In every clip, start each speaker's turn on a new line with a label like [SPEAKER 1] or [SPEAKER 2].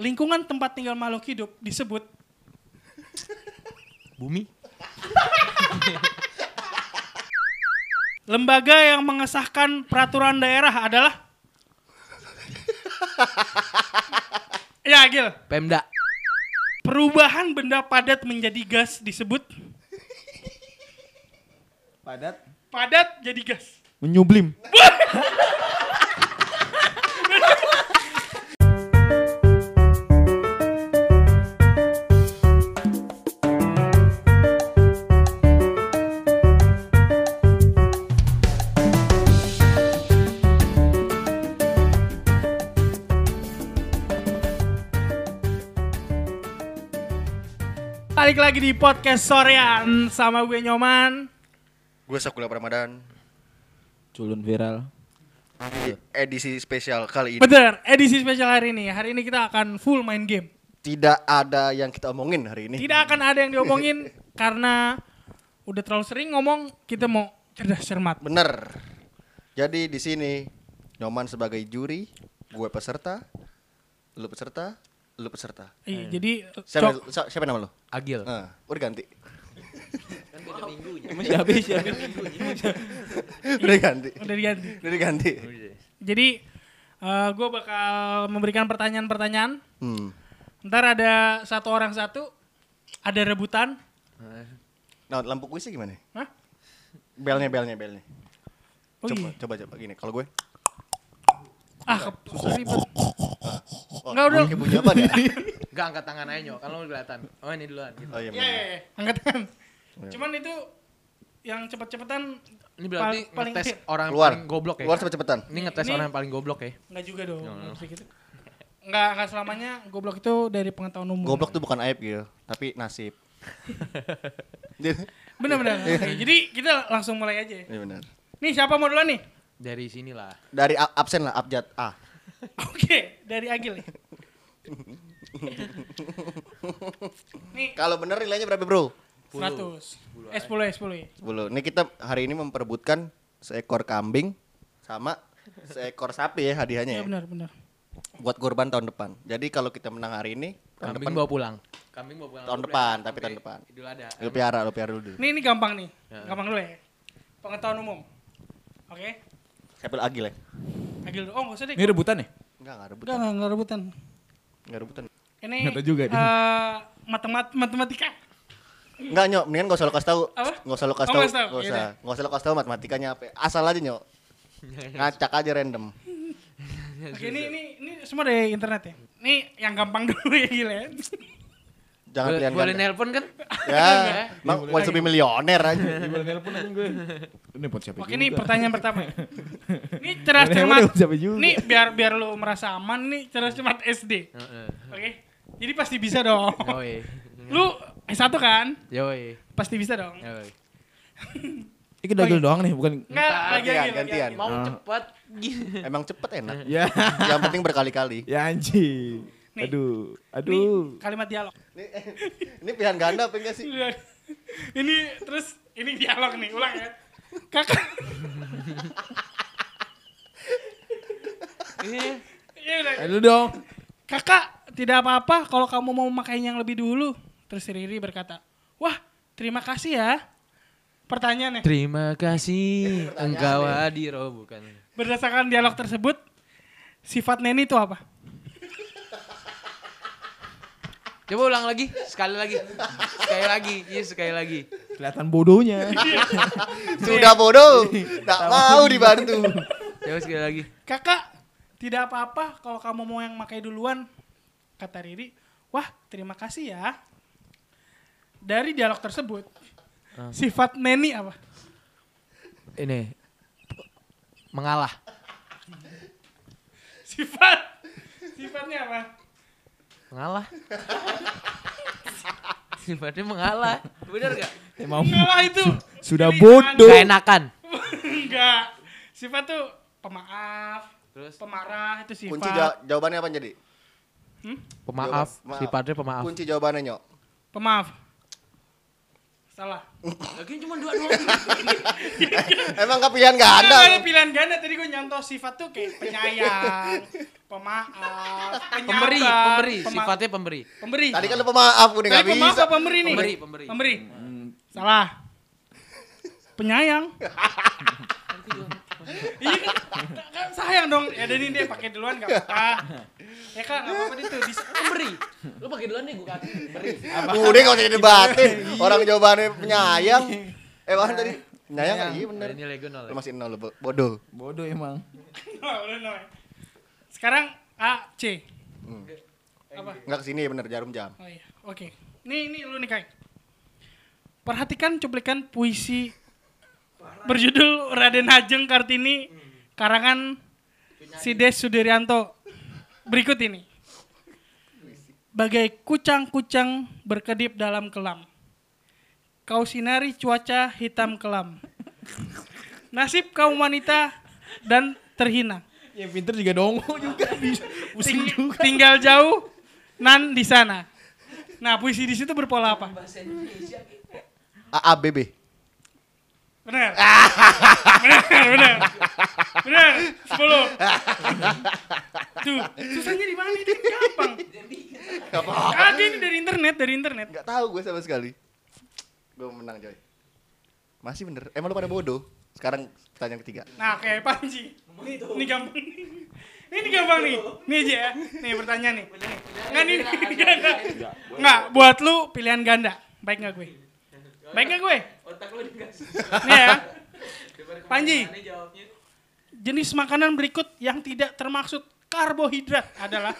[SPEAKER 1] lingkungan tempat tinggal makhluk hidup disebut
[SPEAKER 2] Bumi?
[SPEAKER 1] lembaga yang mengesahkan peraturan daerah adalah Ya, Gil.
[SPEAKER 2] Pemda.
[SPEAKER 1] Perubahan benda padat menjadi gas disebut
[SPEAKER 3] Padat.
[SPEAKER 1] padat jadi gas.
[SPEAKER 3] Menyublim.
[SPEAKER 1] Balik lagi di podcast Sorean sama gue Nyoman.
[SPEAKER 4] Gue Sakula Ramadan
[SPEAKER 3] Culun viral.
[SPEAKER 1] Iya.
[SPEAKER 4] di edisi spesial kali ini
[SPEAKER 1] Bener, edisi spesial hari ini. Hari ini kita akan full main game.
[SPEAKER 4] tidak ada yang kita omongin hari ini.
[SPEAKER 1] Tidak akan ada yang diomongin karena udah terlalu sering ngomong, kita mau cerdas cermat.
[SPEAKER 4] Bener. Jadi di sini Nyoman sebagai juri, gue peserta, lu peserta, lu peserta.
[SPEAKER 1] Iya, jadi
[SPEAKER 4] Siapa,
[SPEAKER 1] cok,
[SPEAKER 4] sa- siapa nama lu?
[SPEAKER 2] Agil.
[SPEAKER 4] Eh, udah ganti.
[SPEAKER 3] Masih habis ya.
[SPEAKER 4] udah ganti.
[SPEAKER 1] udah diganti.
[SPEAKER 4] Udah ganti.
[SPEAKER 1] Oh, iya. Jadi gue bakal memberikan pertanyaan-pertanyaan.
[SPEAKER 4] Hmm.
[SPEAKER 1] Ntar ada satu orang satu, ada rebutan.
[SPEAKER 4] Nah, lampu kuisnya gimana?
[SPEAKER 1] Hah?
[SPEAKER 4] Belnya, belnya, belnya.
[SPEAKER 1] Oh
[SPEAKER 4] coba,
[SPEAKER 1] iya.
[SPEAKER 4] coba, coba gini. Kalau gue,
[SPEAKER 1] Ah, ke- susah ribet.
[SPEAKER 4] oh,
[SPEAKER 1] Enggak, udah.
[SPEAKER 4] ini punya apa ya?
[SPEAKER 2] Enggak angkat tangan aja nyok, kalau lu kelihatan. Oh ini duluan. Gitu.
[SPEAKER 4] Oh
[SPEAKER 1] Iya,
[SPEAKER 4] iya, bener.
[SPEAKER 1] iya, iya. Angkat tangan.
[SPEAKER 4] Iya.
[SPEAKER 1] Cuman itu yang cepet-cepetan
[SPEAKER 2] Ini berarti
[SPEAKER 1] pal- iya. paling
[SPEAKER 2] ngetes
[SPEAKER 1] clear.
[SPEAKER 2] orang yang
[SPEAKER 4] Keluar.
[SPEAKER 2] paling goblok ya.
[SPEAKER 4] Keluar cepet-cepetan.
[SPEAKER 2] Ini ngetes
[SPEAKER 1] Ini-
[SPEAKER 2] orang yang paling goblok ya.
[SPEAKER 1] Enggak juga dong. Enggak gitu. Enggak, enggak selamanya goblok itu dari pengetahuan umum.
[SPEAKER 4] Goblok tuh bukan aib gitu, tapi nasib. Jadi-
[SPEAKER 1] Bener bener. Oke, jadi kita langsung mulai aja. ya.
[SPEAKER 4] Iya benar.
[SPEAKER 1] Nih siapa mau duluan nih?
[SPEAKER 2] Dari sinilah.
[SPEAKER 4] Dari a- absen lah, abjad A.
[SPEAKER 1] Oke, dari Agil nih. Nih,
[SPEAKER 4] Kalau bener nilainya berapa bro?
[SPEAKER 1] 100. Eh 10 ya, 10 ya.
[SPEAKER 4] 10. Ini kita hari ini memperebutkan seekor kambing sama seekor sapi
[SPEAKER 1] Iya
[SPEAKER 4] ya hadiahnya ya.
[SPEAKER 1] benar benar.
[SPEAKER 4] Buat korban tahun depan. Jadi kalau kita menang hari ini, tahun
[SPEAKER 2] Kambing
[SPEAKER 4] depan,
[SPEAKER 2] bawa pulang. Kambing bawa pulang.
[SPEAKER 4] Tahun
[SPEAKER 2] Lu
[SPEAKER 4] depan,
[SPEAKER 2] berani.
[SPEAKER 4] tapi tahun
[SPEAKER 2] Sampai
[SPEAKER 4] depan.
[SPEAKER 2] Idul Adha.
[SPEAKER 4] lu piara, lu piara dulu.
[SPEAKER 1] Ini ini gampang nih.
[SPEAKER 2] Ya.
[SPEAKER 1] Gampang dulu ya. Pengetahuan umum. Oke.
[SPEAKER 4] Saya pilih Agil ya?
[SPEAKER 1] Agil dulu. Oh, enggak usah deh.
[SPEAKER 3] Ini rebutan ya?
[SPEAKER 4] Enggak, enggak rebutan.
[SPEAKER 1] Udah enggak enggak rebutan.
[SPEAKER 4] Enggak rebutan.
[SPEAKER 1] Ini
[SPEAKER 3] Nggak tahu juga dia.
[SPEAKER 1] eh, matemat matematika.
[SPEAKER 4] Enggak nyok, mendingan gak usah lo kasih tau.
[SPEAKER 1] Apa?
[SPEAKER 4] Gak usah lo
[SPEAKER 1] Oh,
[SPEAKER 4] kasih tau.
[SPEAKER 1] nggak usah tahu,
[SPEAKER 4] Gak usah.
[SPEAKER 1] yaudah.
[SPEAKER 4] Gak usah lo kasih tau matematikanya apa. Asal aja nyok. Ngacak aja random.
[SPEAKER 1] Oke, ini ini ini semua dari internet ya. Ini yang gampang dulu ya gila. ya.
[SPEAKER 4] Jangan
[SPEAKER 2] Boleh-
[SPEAKER 4] pilihan
[SPEAKER 2] Boleh
[SPEAKER 4] ganda.
[SPEAKER 2] nelpon kan?
[SPEAKER 1] Iya,
[SPEAKER 4] Ya, emang wants to be millionaire aja.
[SPEAKER 3] Gimana telepon aja gue. Ini pun siapa
[SPEAKER 1] Oke, ini
[SPEAKER 3] juga.
[SPEAKER 1] pertanyaan pertama. ya? Ini cerdas
[SPEAKER 3] Mana yang
[SPEAKER 1] cermat.
[SPEAKER 3] udah sampai juga.
[SPEAKER 1] Ini biar biar lu merasa aman nih cerdas cermat SD.
[SPEAKER 2] Heeh.
[SPEAKER 1] Oke. Jadi pasti bisa dong.
[SPEAKER 2] Yoi.
[SPEAKER 1] Lu S1 kan?
[SPEAKER 2] Yoi.
[SPEAKER 1] Pasti bisa dong.
[SPEAKER 4] Ya.
[SPEAKER 2] Yoi.
[SPEAKER 3] Ini kita Agil doang nih, bukan
[SPEAKER 1] Enggak, lagi
[SPEAKER 4] gantian,
[SPEAKER 1] lagi.
[SPEAKER 4] gantian.
[SPEAKER 1] lagi.
[SPEAKER 2] Mau cepet.
[SPEAKER 4] Emang cepet enak.
[SPEAKER 1] Iya.
[SPEAKER 3] Ya.
[SPEAKER 4] Yang penting berkali-kali.
[SPEAKER 3] Ya anjing.
[SPEAKER 1] Nih.
[SPEAKER 3] Aduh,
[SPEAKER 1] Ini
[SPEAKER 3] aduh.
[SPEAKER 1] kalimat dialog.
[SPEAKER 4] Ini, eh, ini pilihan ganda apa enggak sih?
[SPEAKER 1] Iya. ini terus ini dialog nih, ulang ya. Kakak.
[SPEAKER 2] Iya.
[SPEAKER 1] Iya udah.
[SPEAKER 3] Ayo dong.
[SPEAKER 1] Kakak, tidak apa-apa kalau kamu mau memakainya yang lebih dulu. Terus Riri berkata, "Wah, terima kasih ya." Pertanyaannya,
[SPEAKER 2] Terima kasih engkau
[SPEAKER 4] ya.
[SPEAKER 2] hadir oh bukan.
[SPEAKER 1] berdasarkan dialog tersebut, sifat Neni itu apa?
[SPEAKER 2] Coba ulang lagi, sekali lagi. Sekali lagi, iya sekali lagi.
[SPEAKER 3] Kelihatan bodohnya.
[SPEAKER 4] Sudah bodoh,
[SPEAKER 1] Iya.
[SPEAKER 4] tak mau dibantu.
[SPEAKER 2] Coba sekali lagi.
[SPEAKER 1] Kakak, tidak apa-apa kalau kamu mau yang pakai duluan. Kata Riri, wah terima kasih ya. Dari dialog tersebut, sifat Neni apa?
[SPEAKER 2] Ini mengalah.
[SPEAKER 1] Sifat, sifatnya apa?
[SPEAKER 2] Mengalah. Sifatnya mengalah. Bener gak?
[SPEAKER 3] Emang
[SPEAKER 1] Ngalah itu.
[SPEAKER 3] Oh, Sudah
[SPEAKER 1] pilihan.
[SPEAKER 3] bodoh.
[SPEAKER 2] Gak enakan.
[SPEAKER 1] Enggak. Sifat tuh pemaaf,
[SPEAKER 2] Terus
[SPEAKER 1] pemarah itu sifat.
[SPEAKER 4] Kunci jaw- jawabannya apa jadi?
[SPEAKER 2] pemaaf,
[SPEAKER 4] Maaf.
[SPEAKER 1] Ah.
[SPEAKER 2] sifatnya pemaaf.
[SPEAKER 4] Kunci jawabannya nyok.
[SPEAKER 1] Pemaaf. Salah.
[SPEAKER 2] Lagi cuma dua doang.
[SPEAKER 4] Emang kepilihan gak ada?
[SPEAKER 1] Nggak ada pilihan ganda tadi gue nyontoh sifat tuh kayak penyayang, pemaaf, penyabar,
[SPEAKER 2] Pemberi, pemberi,
[SPEAKER 1] pema-
[SPEAKER 2] sifatnya pemberi.
[SPEAKER 1] pemberi.
[SPEAKER 4] Tadi kan lu pemaaf
[SPEAKER 1] Tadi
[SPEAKER 4] udah gak
[SPEAKER 1] pemaaf
[SPEAKER 4] bisa.
[SPEAKER 1] apa pemberi nih?
[SPEAKER 2] Pemberi, pemberi.
[SPEAKER 3] Hmm,
[SPEAKER 1] Salah. Penyayang. Iya kan, kan sayang dong. Ya udah nih deh pakai duluan gak apa-apa. Ya kan gak apa-apa itu. Di,
[SPEAKER 2] Pemberi. Lu pakai duluan deh gua kasih. Pemberi.
[SPEAKER 4] Udah gak usah
[SPEAKER 1] Iya.
[SPEAKER 4] didebatin. Orang jawabannya penyayang. Eh bahkan tadi penyayang kan? Iya bener.
[SPEAKER 2] Ada nilai gue Nah, nol. ya.
[SPEAKER 4] Lu masih nol lu bo- bodoh.
[SPEAKER 3] Bodoh emang.
[SPEAKER 1] Nol, udah nol. Sekarang A, C.
[SPEAKER 4] Hmm.
[SPEAKER 1] Apa?
[SPEAKER 4] Enggak kesini ya bener jarum jam.
[SPEAKER 1] Oh iya, oke. Nih, nih lu nih Kai. Perhatikan cuplikan puisi berjudul Raden Ajeng Kartini karangan Sides Sudiryanto. Berikut ini. Bagai kucang-kucang berkedip dalam kelam. Kau sinari cuaca hitam kelam. Nasib kaum wanita dan terhina.
[SPEAKER 3] Ya pinter juga dongo juga bisa. Pusing
[SPEAKER 1] Ting-
[SPEAKER 3] juga.
[SPEAKER 1] tinggal jauh nan di sana. Nah, puisi di situ berpola apa?
[SPEAKER 4] A A B B.
[SPEAKER 1] Benar. benar, benar. Benar. 10. Tuh, susahnya di mana? Itu kan gampang.
[SPEAKER 4] Gak apa.
[SPEAKER 1] Ada ini dari internet, dari internet.
[SPEAKER 4] Gak tahu gue sama sekali. Gue menang coy. Masih bener. Emang lu pada bodoh. Sekarang pertanyaan ketiga.
[SPEAKER 1] Nah, kayak Panji. Ini, ini gampang. Ini gampang nih. Nih aja ya. Nih pertanyaan nih. Enggak nih. Enggak. Enggak, buat lu pilihan ganda. Baik enggak gue? Baik enggak gue?
[SPEAKER 2] Otak lu dikasih.
[SPEAKER 1] Nih ya. Panji.
[SPEAKER 2] Ini jawabnya.
[SPEAKER 1] Jenis makanan berikut yang tidak termaksud karbohidrat adalah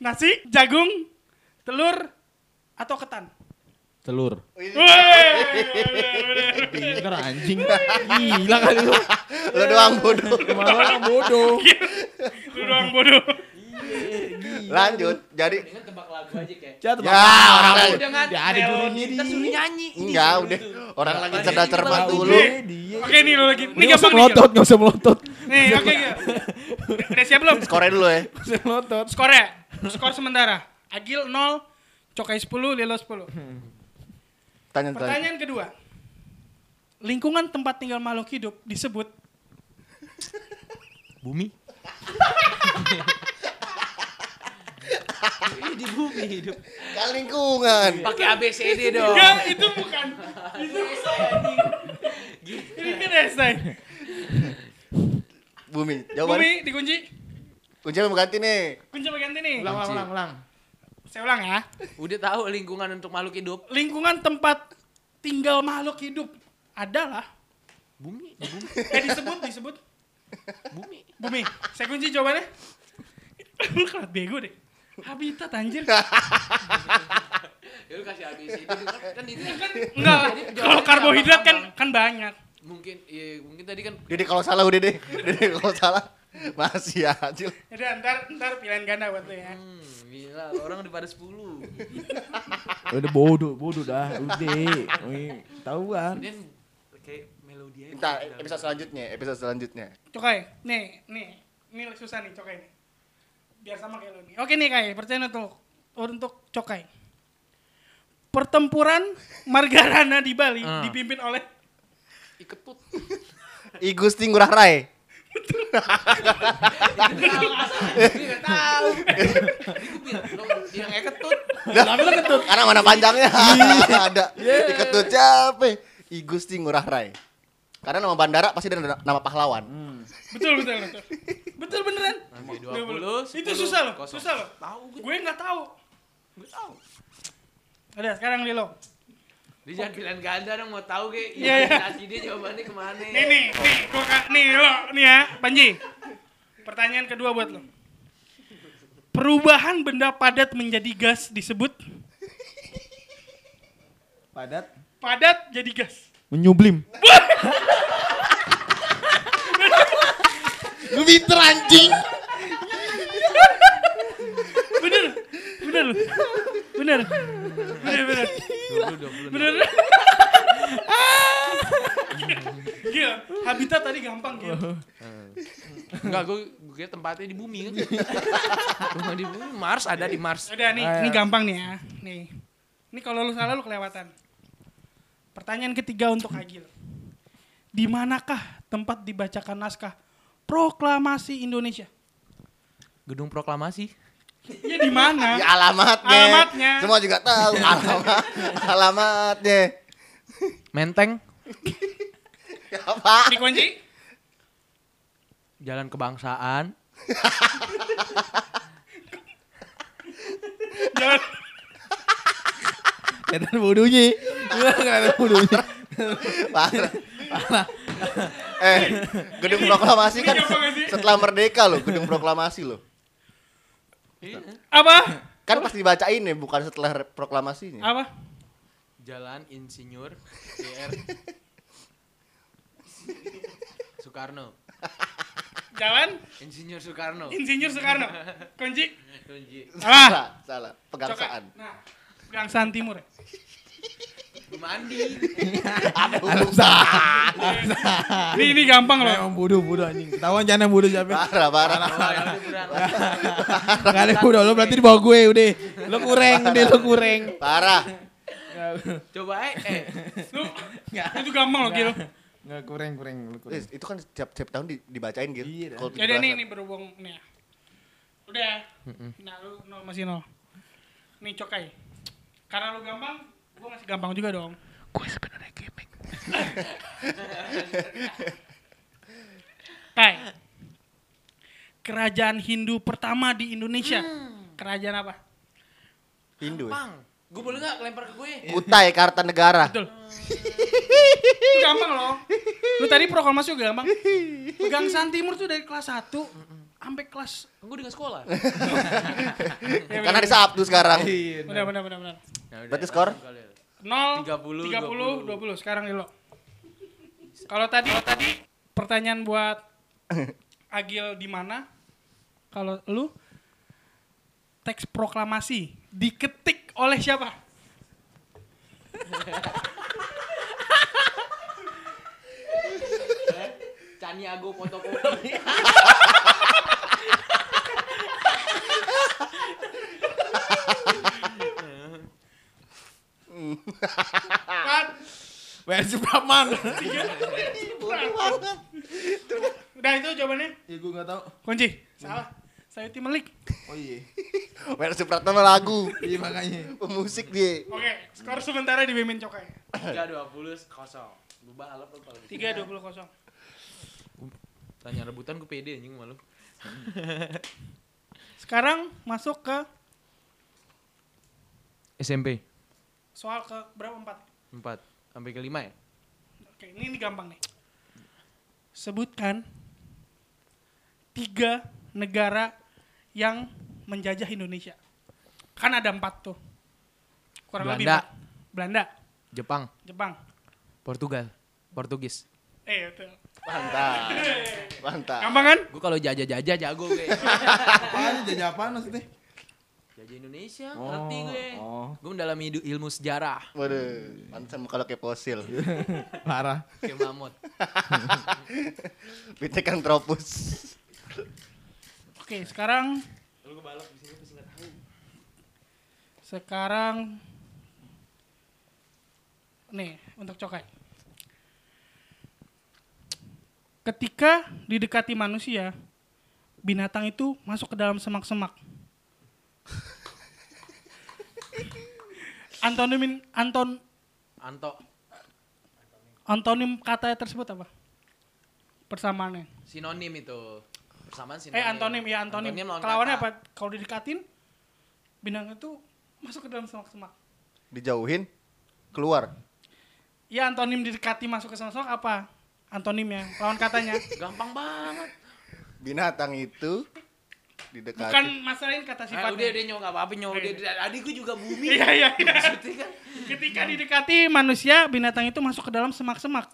[SPEAKER 1] nasi, jagung, telur, atau ketan.
[SPEAKER 3] Telur.
[SPEAKER 1] Wih,
[SPEAKER 3] Pinter anjing. Gila kali lu.
[SPEAKER 4] Lu doang bodoh.
[SPEAKER 1] Iya,
[SPEAKER 3] Emang lu Ya, orang bodoh.
[SPEAKER 1] Lu doang bodoh. iya.
[SPEAKER 4] Lanjut. Jadi
[SPEAKER 2] Dengan tebak lagu aja kayak.
[SPEAKER 3] Jatuh.
[SPEAKER 4] Ya, orang lain.
[SPEAKER 2] Udah nggak
[SPEAKER 3] Dia ada gurunya
[SPEAKER 2] Kita suruh
[SPEAKER 3] dia.
[SPEAKER 2] nyanyi.
[SPEAKER 4] enggak udah. Orang lagi cerdas cermat
[SPEAKER 3] Tahu
[SPEAKER 4] dulu.
[SPEAKER 3] dia, dia.
[SPEAKER 1] Oke nih lu lagi. Nih
[SPEAKER 3] Ini gak usah
[SPEAKER 1] gampang nih.
[SPEAKER 3] melotot, gak usah melotot.
[SPEAKER 1] Gil. Nih, oke Gil. Udah- Udah siap belum?
[SPEAKER 4] Skornya dulu ya.
[SPEAKER 3] Gak usah melotot.
[SPEAKER 1] Skornya. Skor sementara. Agil 0, Cokai 10, Lilo 10.
[SPEAKER 4] Tanya tanya.
[SPEAKER 1] Pertanyaan kedua. Lingkungan tempat tinggal makhluk hidup disebut
[SPEAKER 2] Bumi. Ini di bumi hidup.
[SPEAKER 4] Kan lingkungan.
[SPEAKER 2] Pakai ABCD
[SPEAKER 3] Iya
[SPEAKER 2] dong.
[SPEAKER 1] Enggak, itu bukan. Itu Ini kan esai.
[SPEAKER 4] Bumi. Jawaban.
[SPEAKER 1] Bumi dikunci.
[SPEAKER 4] Kunci mau ganti nih.
[SPEAKER 1] Kunci apa ganti nih?
[SPEAKER 3] Ulang, ulang, ulang.
[SPEAKER 1] Saya ulang ya.
[SPEAKER 2] Udah tahu lingkungan untuk makhluk hidup.
[SPEAKER 1] Lingkungan tempat tinggal makhluk hidup adalah
[SPEAKER 2] Bumi, bumi,
[SPEAKER 1] eh disebut disebut
[SPEAKER 2] bumi.
[SPEAKER 1] bumi. Saya kunci jawabannya. Lu kelat bego deh. Habitat anjir.
[SPEAKER 2] Ya lu kasih ABCD dulu. kan itu kan
[SPEAKER 1] Enggak lah. Kalau karbohidrat kan kan banyak.
[SPEAKER 2] mungkin ya, mungkin tadi kan
[SPEAKER 4] Dede kalau salah udah deh. Dede kalau salah masih aja. lu.
[SPEAKER 1] Udah ntar ntar pilihan ganda buat lu ya.
[SPEAKER 2] hmm, gila orang udah pada 10.
[SPEAKER 3] Udah bodoh, bodoh dah. Udah. Wih, kan? Tahuan.
[SPEAKER 2] Dan kayak melodi aja.
[SPEAKER 4] Entar episode selanjutnya, episode selanjutnya.
[SPEAKER 1] Cokai, nih, nih, ini susah nih Cokai nih. Biar sama kayak lu nih. Oke nih Kai, percaya tuh untuk Cokai. Pertempuran Margarana di Bali
[SPEAKER 2] Ah.
[SPEAKER 1] dipimpin oleh
[SPEAKER 2] Iketut.
[SPEAKER 4] I Gusti Ngurah Rai.
[SPEAKER 2] Ini enggak tahu. Tadi gua bilang "Eh, lo yang iketut.
[SPEAKER 4] Tapi lu ketut. Iya. Karena mana panjangnya. Ada. Diketut capek. I Gusti Ngurah Rai. Karena nama bandara pasti ada na- nama pahlawan.
[SPEAKER 1] betul betul betul. betul beneran.
[SPEAKER 2] Oke, 20,
[SPEAKER 1] Itu
[SPEAKER 2] 10,
[SPEAKER 1] susah loh,
[SPEAKER 2] kosong.
[SPEAKER 1] susah loh.
[SPEAKER 2] Tahu gue.
[SPEAKER 1] Gue nggak tahu.
[SPEAKER 2] Gue tahu.
[SPEAKER 1] Udah, sekarang Lilo.
[SPEAKER 2] Dia jangan pilihan ganda dong mau tahu kayak
[SPEAKER 1] Iya, iya.
[SPEAKER 2] imajinasi dia jawabannya kemana
[SPEAKER 1] Nih nih, nih, gua ka- nih lo, nih ya, Panji. Pertanyaan kedua buat lo. Perubahan benda padat menjadi gas disebut
[SPEAKER 3] Padat.
[SPEAKER 1] padat jadi gas.
[SPEAKER 3] Menyublim.
[SPEAKER 4] Lu pinter anjing.
[SPEAKER 1] bener bener lu. bener bener bener
[SPEAKER 2] 20 20.
[SPEAKER 1] bener gila habitat tadi gampang gil
[SPEAKER 2] Enggak, gue gue kira tempatnya di bumi kan. Rumah di bumi Mars ada di Mars.
[SPEAKER 1] udah nih ini gampang nih ya nih Ini kalau lu salah lu kelewatan. Pertanyaan ketiga untuk Agil. Di manakah tempat dibacakan naskah Proklamasi Indonesia?
[SPEAKER 2] Gedung proklamasi.
[SPEAKER 1] Ya di mana?
[SPEAKER 4] Ya, alamatnya.
[SPEAKER 1] Alamatnya.
[SPEAKER 4] Semua juga tahu alamat alamatnya.
[SPEAKER 2] Menteng.
[SPEAKER 4] Ya, Pak.
[SPEAKER 1] Dikunci?
[SPEAKER 2] Jalan Kebangsaan.
[SPEAKER 1] Jalan
[SPEAKER 3] Kelihatan bodohnya. Iya, kelihatan bodohnya.
[SPEAKER 4] Parah. eh, gedung proklamasi kan
[SPEAKER 1] Ini apa nggak sih?
[SPEAKER 4] setelah merdeka loh, gedung proklamasi loh.
[SPEAKER 1] apa?
[SPEAKER 4] Kan pas dibacain ya, bukan setelah re- proklamasinya.
[SPEAKER 1] Apa?
[SPEAKER 2] Jalan Insinyur JR. Soekarno.
[SPEAKER 1] Jalan
[SPEAKER 2] Insinyur Soekarno.
[SPEAKER 1] Insinyur Soekarno. Kunci?
[SPEAKER 2] Kunci.
[SPEAKER 4] Ah.
[SPEAKER 1] Salah.
[SPEAKER 4] Salah, salah.
[SPEAKER 1] Coka.
[SPEAKER 4] Pegangsaan.
[SPEAKER 1] Nah, Pegangsaan Timur ya?
[SPEAKER 2] Mandi.
[SPEAKER 4] Ada hubungan.
[SPEAKER 1] Ini, ini gampang loh.
[SPEAKER 3] Emang bodoh bodoh anjing. Ketahuan jangan yang bodoh siapa.
[SPEAKER 4] Parah, parah.
[SPEAKER 3] Gak ada bodoh lo berarti di bawah gue udah. Lo kurang, udah lo kurang.
[SPEAKER 4] Parah.
[SPEAKER 2] Coba eh, eh.
[SPEAKER 1] Lu, itu gampang loh Gil.
[SPEAKER 3] Enggak kurang, kurang, lo kurang.
[SPEAKER 4] Eh, Itu kan setiap setiap tahun di- dibacain gitu.
[SPEAKER 3] Iya, dah.
[SPEAKER 1] Jadi ini ini berhubung nih. ya. Udah. Nah, lu nol masih nol. Nih cokai. Karena lu gampang, gua masih gampang juga dong.
[SPEAKER 2] Gue sebenarnya gimmick.
[SPEAKER 1] Kai. Kerajaan Hindu pertama di Indonesia. Kerajaan apa?
[SPEAKER 4] Hindu. ya?
[SPEAKER 2] Pang. Gue boleh gak lempar ke gue?
[SPEAKER 4] Kutai Kartanegara.
[SPEAKER 1] Betul. Itu gampang loh. Lu tadi proklamasi juga gampang. Gangsaan Timur tuh dari kelas 1 sampai kelas
[SPEAKER 2] Kan
[SPEAKER 1] Iya,
[SPEAKER 2] Gue dengan sekolah.
[SPEAKER 4] Karena hari Sabtu sekarang.
[SPEAKER 1] benar benar benar benar.
[SPEAKER 2] Ya
[SPEAKER 4] Berarti skor?
[SPEAKER 1] 0
[SPEAKER 2] 30,
[SPEAKER 1] 30 20. Sekarang nih lo. Kalau tadi kalau tadi pertanyaan buat Agil di mana? Kalau lu teks proklamasi diketik oleh siapa?
[SPEAKER 2] Eh, Caniago fotokopi.
[SPEAKER 1] Kan?
[SPEAKER 3] Versi Brahman.
[SPEAKER 1] Udah itu jawabannya.
[SPEAKER 3] Ya gue enggak tahu.
[SPEAKER 1] Kunci. Salah. Saya tim Melik.
[SPEAKER 3] Oh iya.
[SPEAKER 4] Merah Supratman lagu.
[SPEAKER 3] Iya makanya.
[SPEAKER 4] Pemusik dia.
[SPEAKER 1] Oke, skor sementara di Bimin Cokai.
[SPEAKER 2] 320 kosong. Gue balap lu kalau gitu.
[SPEAKER 1] 3 20 kosong.
[SPEAKER 2] Tanya rebutan gue pede anjing malu.
[SPEAKER 1] Sekarang masuk ke
[SPEAKER 2] SMP
[SPEAKER 1] soal ke berapa empat?
[SPEAKER 2] 4 sampai ke 5 ya?
[SPEAKER 1] Oke, ini, ini gampang nih. Sebutkan tiga negara yang menjajah Indonesia. Kan ada empat tuh. Kurang lebih
[SPEAKER 2] Belanda.
[SPEAKER 1] empat. Belanda,
[SPEAKER 2] Jepang,
[SPEAKER 1] Jepang.
[SPEAKER 2] Portugal, Portugis.
[SPEAKER 1] Eh, itu.
[SPEAKER 4] Mantap.
[SPEAKER 1] Iya.
[SPEAKER 4] Mantap.
[SPEAKER 1] Gampang kan?
[SPEAKER 2] Gue kalau jajah-jajah jago gue.
[SPEAKER 3] Apaan jajah apaan maksudnya?
[SPEAKER 2] Jajah Indonesia,
[SPEAKER 3] Oh,
[SPEAKER 2] ngerti gue.
[SPEAKER 3] oh.
[SPEAKER 2] Gue mendalami idu- ilmu sejarah
[SPEAKER 4] Waduh, pantesan muka lo kayak fosil.
[SPEAKER 3] Parah.
[SPEAKER 2] kayak mamut.
[SPEAKER 4] Bitekan tropus.
[SPEAKER 1] Oke, sekarang Sekarang nih untuk cokai. Ketika didekati manusia, binatang itu masuk ke dalam semak-semak. Antonim anton
[SPEAKER 2] Anto,
[SPEAKER 1] antonim kata tersebut apa? Persamaannya.
[SPEAKER 2] sinonim itu. Persamaan sinonim.
[SPEAKER 1] Eh antonim ya antonim.
[SPEAKER 2] lawan
[SPEAKER 1] Kelawannya
[SPEAKER 2] kata.
[SPEAKER 1] apa? Kalau didekatin binatang itu masuk ke dalam semak-semak.
[SPEAKER 4] Dijauhin, keluar.
[SPEAKER 1] Ya antonim didekati masuk ke semak-semak apa? Antonimnya, lawan katanya.
[SPEAKER 2] Gampang banget.
[SPEAKER 4] Binatang itu
[SPEAKER 1] Bukan
[SPEAKER 4] didekati.
[SPEAKER 1] masalahin kata
[SPEAKER 2] Ah, udah
[SPEAKER 1] sifatnya.
[SPEAKER 2] udah nyok apa apa nyok.
[SPEAKER 1] Oke.
[SPEAKER 2] Adik gue juga bumi.
[SPEAKER 1] Iya iya iya.
[SPEAKER 2] Maksudnya kan
[SPEAKER 1] Ketika didekati manusia, binatang itu masuk ke dalam semak-semak.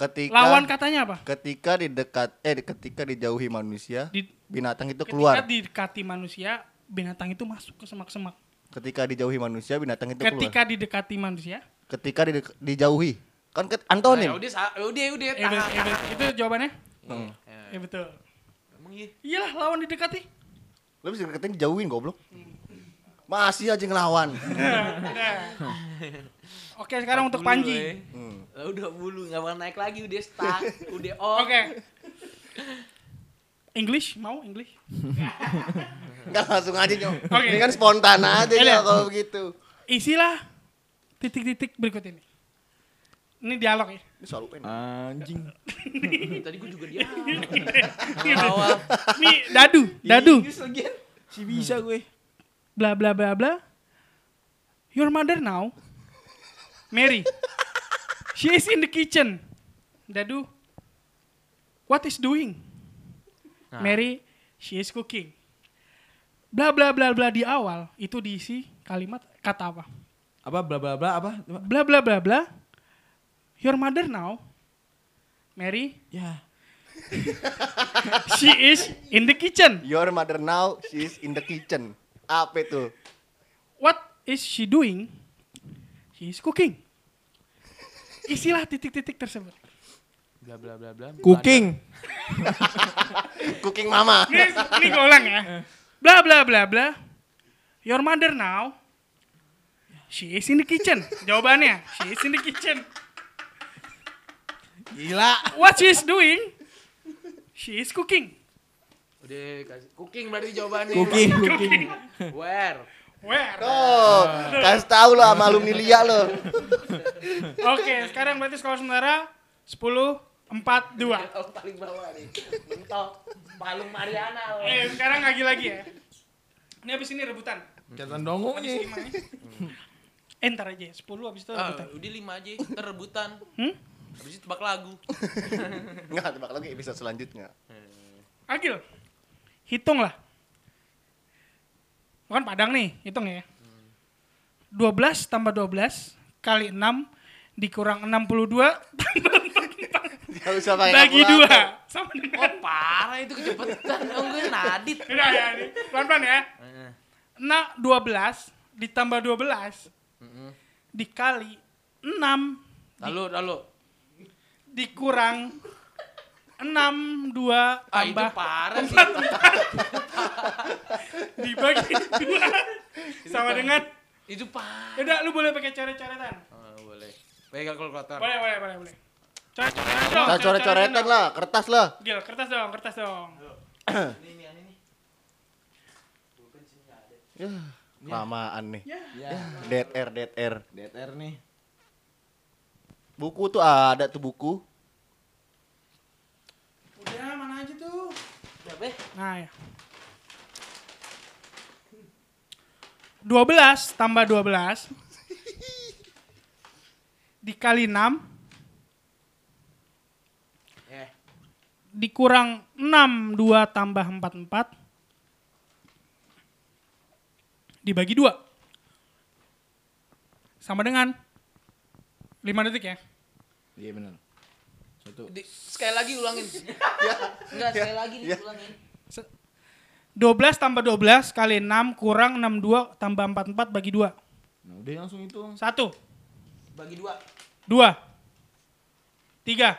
[SPEAKER 4] Ketika
[SPEAKER 1] Lawan katanya apa?
[SPEAKER 4] ketika didekat eh ketika dijauhi manusia,
[SPEAKER 1] Di-
[SPEAKER 4] binatang itu keluar.
[SPEAKER 1] Ketika didekati manusia, binatang itu masuk ke semak-semak.
[SPEAKER 4] Ketika dijauhi manusia, binatang itu keluar.
[SPEAKER 1] Ketika didekati manusia,
[SPEAKER 4] Ketika didek- dijauhi. Kan ke
[SPEAKER 2] Ya
[SPEAKER 4] antonim.
[SPEAKER 2] udah, sa- ya udah, udah.
[SPEAKER 1] eh, bet- eh, bet- itu jawabannya?
[SPEAKER 4] Hmm.
[SPEAKER 1] Ya betul.
[SPEAKER 2] Emang iya.
[SPEAKER 1] Iyalah lawan didekati.
[SPEAKER 4] Lu bisa deketin jauhin goblok. Masih aja ngelawan.
[SPEAKER 1] Oke, sekarang untuk
[SPEAKER 2] Bulu,
[SPEAKER 1] Panji.
[SPEAKER 2] eh.
[SPEAKER 3] Hmm.
[SPEAKER 2] Lah udah bulu nggak bakal naik lagi udah stuck, udah off.
[SPEAKER 1] Oke. English mau English?
[SPEAKER 4] Enggak langsung aja nyok.
[SPEAKER 1] Oke.
[SPEAKER 4] Ini kan spontan aja
[SPEAKER 1] Iya.
[SPEAKER 4] nyok kalau begitu.
[SPEAKER 1] Isilah titik-titik berikut ini. Ini dialog ya.
[SPEAKER 4] Ini soal UN.
[SPEAKER 3] Anjing.
[SPEAKER 2] Tadi gue juga dia. Awal.
[SPEAKER 1] Ini dadu, dadu.
[SPEAKER 2] Inggris lagian. Hmm.
[SPEAKER 3] Si bisa gue.
[SPEAKER 1] Bla bla bla bla. Your mother now. Mary. She is in the kitchen. Dadu. What is doing? Mary, she is cooking. Bla bla bla bla di awal itu diisi kalimat kata apa?
[SPEAKER 3] Apa bla bla bla apa? Coba.
[SPEAKER 1] bla bla bla bla. Your mother now, Mary,
[SPEAKER 3] Ya.
[SPEAKER 1] she is in the kitchen.
[SPEAKER 4] Your mother now she's in the kitchen. Apa itu?
[SPEAKER 1] What is she doing? She is cooking. Isilah titik-titik tersebut.
[SPEAKER 2] Bla bla bla bla.
[SPEAKER 3] Cooking.
[SPEAKER 4] Cooking mama.
[SPEAKER 1] Ini, ini gue ulang ya. Bla bla bla bla. Your mother now, she is in the kitchen. Jawabannya, she is in the kitchen.
[SPEAKER 3] Gila.
[SPEAKER 1] What she is doing? She is cooking.
[SPEAKER 2] Udah kasih cooking berarti jawabannya.
[SPEAKER 3] Cooking, cooking.
[SPEAKER 2] Where?
[SPEAKER 1] Where?
[SPEAKER 4] Oh,
[SPEAKER 1] Ah.
[SPEAKER 4] kasih tahu lo sama alumni Lia lo.
[SPEAKER 1] Oke, sekarang berarti sekolah sementara 10, 4, 2.
[SPEAKER 2] Oh, paling bawah nih. Mentok. Palung Mariana. weh.
[SPEAKER 1] Eh, sekarang lagi lagi ya. Ini abis ini rebutan.
[SPEAKER 3] Catatan dongong nih.
[SPEAKER 1] Lima ya. Eh, ntar aja, 10 abis itu
[SPEAKER 2] Ah,
[SPEAKER 1] rebutan.
[SPEAKER 2] udah lima aja, ntar rebutan.
[SPEAKER 1] Eh, Hmm?
[SPEAKER 2] Habis itu tebak lagu.
[SPEAKER 4] Enggak, tebak lagi episode selanjutnya.
[SPEAKER 1] Agil, hitung lah. Lu Kan Padang nih, hitung ya. 12 tambah 12 kali 6 dikurang 62 tambah 44
[SPEAKER 4] Enggak usah pakai
[SPEAKER 1] bagi
[SPEAKER 4] kalkulator.
[SPEAKER 1] 2 sama dengan
[SPEAKER 2] ya, Oh parah itu kecepetan. Oh gue nadit.
[SPEAKER 1] Udah ya, ini. pelan-pelan ya.
[SPEAKER 2] Heeh.
[SPEAKER 1] Nah, 12 ditambah 12 dikali 6
[SPEAKER 2] Lalu, lalu.
[SPEAKER 1] dikurang 6 2
[SPEAKER 2] Ah itu
[SPEAKER 1] tambah
[SPEAKER 2] parah sih.
[SPEAKER 1] dibagi 2 sama dengan
[SPEAKER 2] Itu parah.
[SPEAKER 1] udah lu boleh pakai coret-coretan.
[SPEAKER 2] Oh, boleh. Pakai kalkulator.
[SPEAKER 1] Boleh, boleh, boleh, boleh. Coret-coretan dong.
[SPEAKER 4] Kita coret-coretan
[SPEAKER 1] dong.
[SPEAKER 4] lah, kertas lah.
[SPEAKER 1] Gil, kertas dong, kertas dong.
[SPEAKER 4] Lamaan nih.
[SPEAKER 3] Ya.
[SPEAKER 4] Dead air, dead air.
[SPEAKER 3] DTR nih.
[SPEAKER 4] Buku tuh ada tuh buku.
[SPEAKER 1] Udah, mana aja tuh?
[SPEAKER 2] Berapa?
[SPEAKER 1] Nah, ya. 12 tambah 12 dikali 6
[SPEAKER 2] Eh,
[SPEAKER 1] dikurang 6 2 tambah 4 4 dibagi 2 sama dengan 5 detik ya
[SPEAKER 3] Iya benar. Satu.
[SPEAKER 2] di- sekali lagi ulangin. Enggak, sekali lagi nih ulangin.
[SPEAKER 1] Se- 12 tambah 12 kali 6 kurang 6 2 tambah 4 4 bagi 2
[SPEAKER 3] Nah, udah langsung hitung.
[SPEAKER 1] 1 2
[SPEAKER 2] Bagi dua.
[SPEAKER 1] 3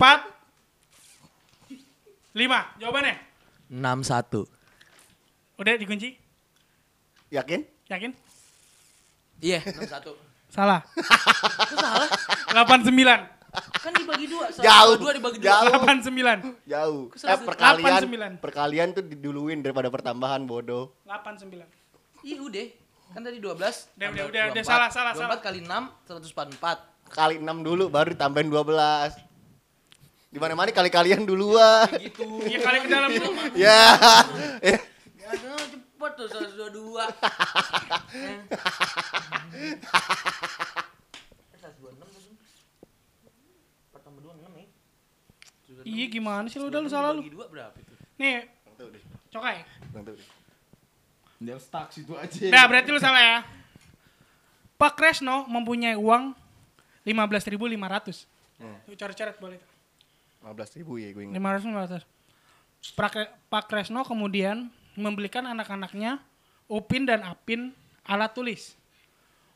[SPEAKER 1] 4 5 jawabannya
[SPEAKER 2] 61.
[SPEAKER 1] udah dikunci
[SPEAKER 4] Yakin?
[SPEAKER 1] yakin
[SPEAKER 2] Iya, 61.
[SPEAKER 1] salah salah 89
[SPEAKER 2] Kan dibagi dua.
[SPEAKER 4] Jauh.
[SPEAKER 2] Dua dibagi dua.
[SPEAKER 4] Jauh.
[SPEAKER 1] 89
[SPEAKER 4] Jauh. Eh,
[SPEAKER 1] Seratus-
[SPEAKER 4] perkalian,
[SPEAKER 1] 89.
[SPEAKER 4] perkalian tuh diduluin daripada pertambahan bodoh.
[SPEAKER 1] 89
[SPEAKER 2] Ih, udah. Kan tadi 12.
[SPEAKER 1] Udah, udah,
[SPEAKER 2] tambah
[SPEAKER 1] udah, udah,
[SPEAKER 2] 24.
[SPEAKER 1] salah, salah,
[SPEAKER 2] 24 kali 6, 144.
[SPEAKER 4] Kali 6 dulu baru ditambahin 12. Di mana-mana kali-kalian duluan.
[SPEAKER 2] Gitu.
[SPEAKER 1] Iya kali ke dalam dulu.
[SPEAKER 4] Ya. Eh,
[SPEAKER 2] Aduh, cepet tuh 122. Eh. 126 tuh. 4 tambah 2, 6 ya.
[SPEAKER 1] Iya gimana sih lu udah lu salah lu.
[SPEAKER 2] Bagi dua berapa itu?
[SPEAKER 1] Nih,
[SPEAKER 4] Tuh deh,
[SPEAKER 1] cokai.
[SPEAKER 4] tuh deh.
[SPEAKER 3] Dia stuck situ
[SPEAKER 1] Nah,
[SPEAKER 3] aja.
[SPEAKER 1] berarti lu salah ya. Pak Kresno mempunyai uang 15.500.
[SPEAKER 4] Hmm.
[SPEAKER 1] Lu coret-coret boleh.
[SPEAKER 4] 15 ribu ya gue ingat.
[SPEAKER 1] 15.500. Pra- Pak Kresno kemudian membelikan anak-anaknya Upin dan Apin alat tulis.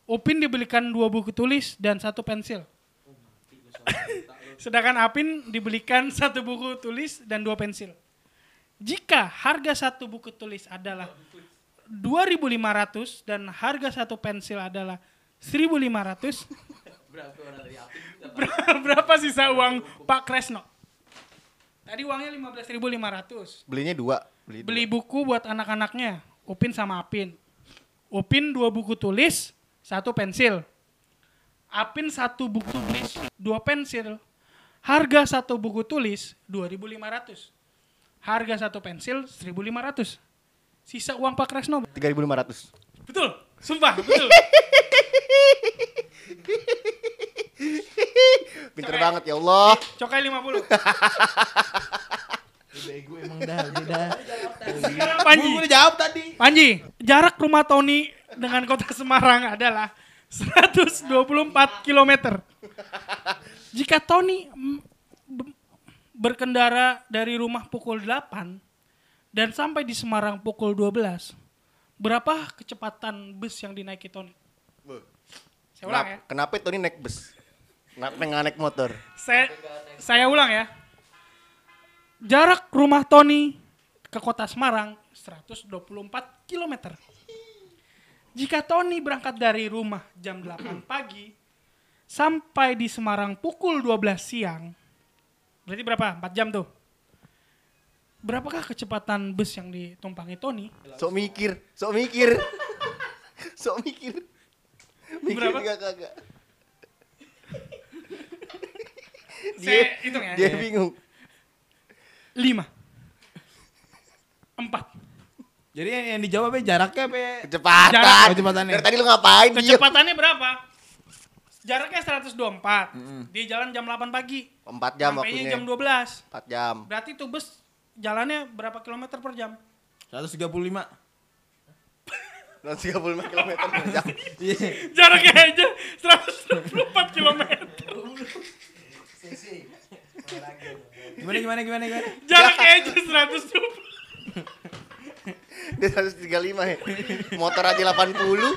[SPEAKER 1] Upin dibelikan dua buku tulis dan satu pensil. Sedangkan Apin dibelikan satu buku tulis dan dua pensil. Jika harga satu buku tulis adalah 2.500 dan harga satu pensil adalah 1.500. Ber- Berapa sisa uang Pak Kresno? Tadi uangnya 15.500.
[SPEAKER 4] Belinya dua. Beli. dua.
[SPEAKER 1] Beli buku buat anak-anaknya, Upin sama Apin. Upin dua buku tulis, satu pensil. Apin satu buku tulis, dua pensil. Harga satu buku tulis 2.500. Harga satu pensil 1.500. Sisa uang Pak Kresno.
[SPEAKER 4] 3.500.
[SPEAKER 1] Betul. Sumpah, betul.
[SPEAKER 4] Pinter
[SPEAKER 1] Coret.
[SPEAKER 4] banget ya Allah.
[SPEAKER 1] Cokai 50.
[SPEAKER 3] Bego emang dah, udah dah.
[SPEAKER 1] Sekarang Panji.
[SPEAKER 3] Gue udah jawab tadi.
[SPEAKER 1] Panji, jarak rumah Tony dengan kota Semarang adalah 124 km. Jika Tony mm, be- berkendara dari rumah pukul 8 dan sampai di Semarang pukul 12, berapa kecepatan bus yang dinaiki Tony? Saya ulang ya.
[SPEAKER 4] Kenapa, kenapa Tony naik bus? Kenapa nggak naik motor?
[SPEAKER 1] Saya, saya ulang ya. Jarak rumah Tony ke kota Semarang 124 km. Jika Tony berangkat dari rumah jam 8 pagi sampai di Semarang pukul 12 siang, berarti berapa? 4 jam tuh. Berapakah kecepatan bus yang ditumpangi Tony?
[SPEAKER 4] Sok mikir, sok mikir. Sok mikir. Mikir
[SPEAKER 1] Berapa?
[SPEAKER 4] nggak kagak.
[SPEAKER 1] Saya hitung ya.
[SPEAKER 4] Dia bingung.
[SPEAKER 1] Lima. Empat.
[SPEAKER 3] Jadi yang, yang dijawab apa jaraknya apa? ya?
[SPEAKER 4] Kecepatan.
[SPEAKER 1] Jarak.
[SPEAKER 3] Oh, kecepatannya.
[SPEAKER 4] Dari tadi lu ngapain? Diem.
[SPEAKER 1] Kecepatannya berapa? Jaraknya 124. Dia jalan jam 8 pagi.
[SPEAKER 4] Empat jam
[SPEAKER 1] Sampainya
[SPEAKER 4] waktunya.
[SPEAKER 1] jam 12.
[SPEAKER 4] Empat jam.
[SPEAKER 1] Berarti tuh bus jalannya berapa kilometer per jam?
[SPEAKER 3] 135.
[SPEAKER 4] 135 km per jam.
[SPEAKER 3] Iya.
[SPEAKER 1] Jaraknya aja 124 kilometer.
[SPEAKER 3] Gimana gimana gimana gimana?
[SPEAKER 1] Jaraknya
[SPEAKER 4] Ya.
[SPEAKER 1] aja 120.
[SPEAKER 4] Dia 135 ya. Motor aja 80.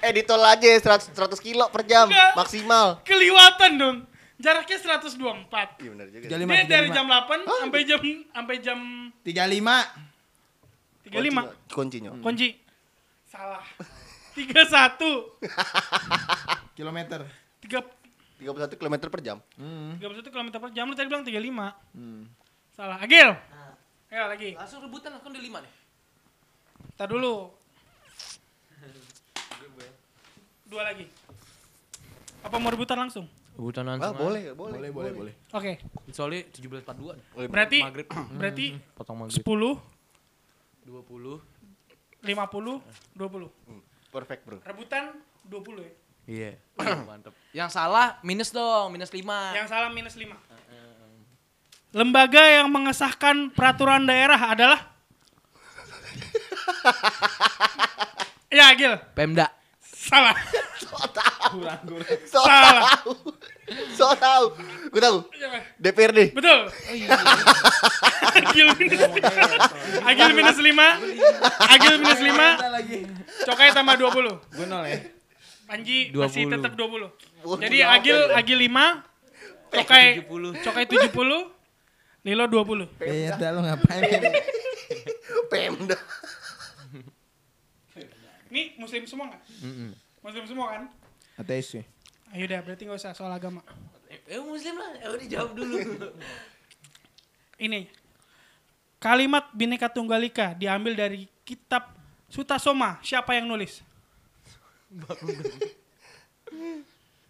[SPEAKER 4] Eh di tol aja 100, 100 kilo per jam
[SPEAKER 1] Enggak.
[SPEAKER 4] maksimal.
[SPEAKER 1] Keliwatan dong. Jaraknya 124.
[SPEAKER 4] Iya benar juga.
[SPEAKER 3] Tiga lima,
[SPEAKER 1] Dia
[SPEAKER 3] tiga
[SPEAKER 1] dari
[SPEAKER 3] lima.
[SPEAKER 1] jam 8 sampai jam sampai jam
[SPEAKER 3] 35.
[SPEAKER 1] 35.
[SPEAKER 4] Kuncinya.
[SPEAKER 1] Kunci. Salah. 31.
[SPEAKER 3] kilometer.
[SPEAKER 1] 3
[SPEAKER 4] 31 km per jam.
[SPEAKER 3] Hmm.
[SPEAKER 1] 31 km per jam lu tadi bilang 35. Salah. Agil. Ayo lagi.
[SPEAKER 2] Nah, Langsung rebutan lah, kan udah lima nih.
[SPEAKER 1] Kita dulu. Dua lagi. Apa mau rebutan langsung?
[SPEAKER 2] Rebutan
[SPEAKER 4] Wah,
[SPEAKER 2] langsung.
[SPEAKER 4] boleh, boleh.
[SPEAKER 3] Boleh boleh boleh.
[SPEAKER 1] Oke.
[SPEAKER 2] Soalnya 17.42 nih.
[SPEAKER 4] Boleh,
[SPEAKER 1] Berarti
[SPEAKER 2] Maghrib.
[SPEAKER 1] berarti
[SPEAKER 2] Potong
[SPEAKER 1] 10,
[SPEAKER 2] maghrib.
[SPEAKER 1] 50,
[SPEAKER 2] 20.
[SPEAKER 1] 20.
[SPEAKER 4] Hmm, Perfect, Bro.
[SPEAKER 1] Rebutan 20 ya.
[SPEAKER 2] Iya. Mantep. Yang salah minus dong, minus 5.
[SPEAKER 1] Yang salah minus 5. Lembaga yang mengesahkan peraturan daerah adalah Ya, Agil.
[SPEAKER 2] Pemda.
[SPEAKER 1] Salah.
[SPEAKER 4] So
[SPEAKER 1] Salah.
[SPEAKER 4] tahu. So tahu. Gue tahu.
[SPEAKER 1] Ya,
[SPEAKER 4] DPRD.
[SPEAKER 1] Betul. Agil minus Agil minus 5. Agil minus 5.
[SPEAKER 3] lagi.
[SPEAKER 1] Cokai tambah 20.
[SPEAKER 3] Gue nol ya.
[SPEAKER 1] Panji masih
[SPEAKER 2] 20.
[SPEAKER 1] tetap 20.
[SPEAKER 4] Wah,
[SPEAKER 1] Jadi
[SPEAKER 4] kenapa
[SPEAKER 1] Agil
[SPEAKER 4] ya?
[SPEAKER 1] Agil 5. Cokai
[SPEAKER 2] 70.
[SPEAKER 1] Cokai 70. Lilo 20.
[SPEAKER 3] Ya udah lo ngapain?
[SPEAKER 4] Pemda.
[SPEAKER 1] Ini muslim semua nggak? Muslim semua kan?
[SPEAKER 3] Ateis ya. sih.
[SPEAKER 1] Ayo udah berarti nggak usah soal agama.
[SPEAKER 2] Eh, muslim lah. Eh, udah jawab dulu.
[SPEAKER 1] Ini. Kalimat Bhinneka Tunggal Ika diambil dari kitab Sutasoma. Siapa yang nulis?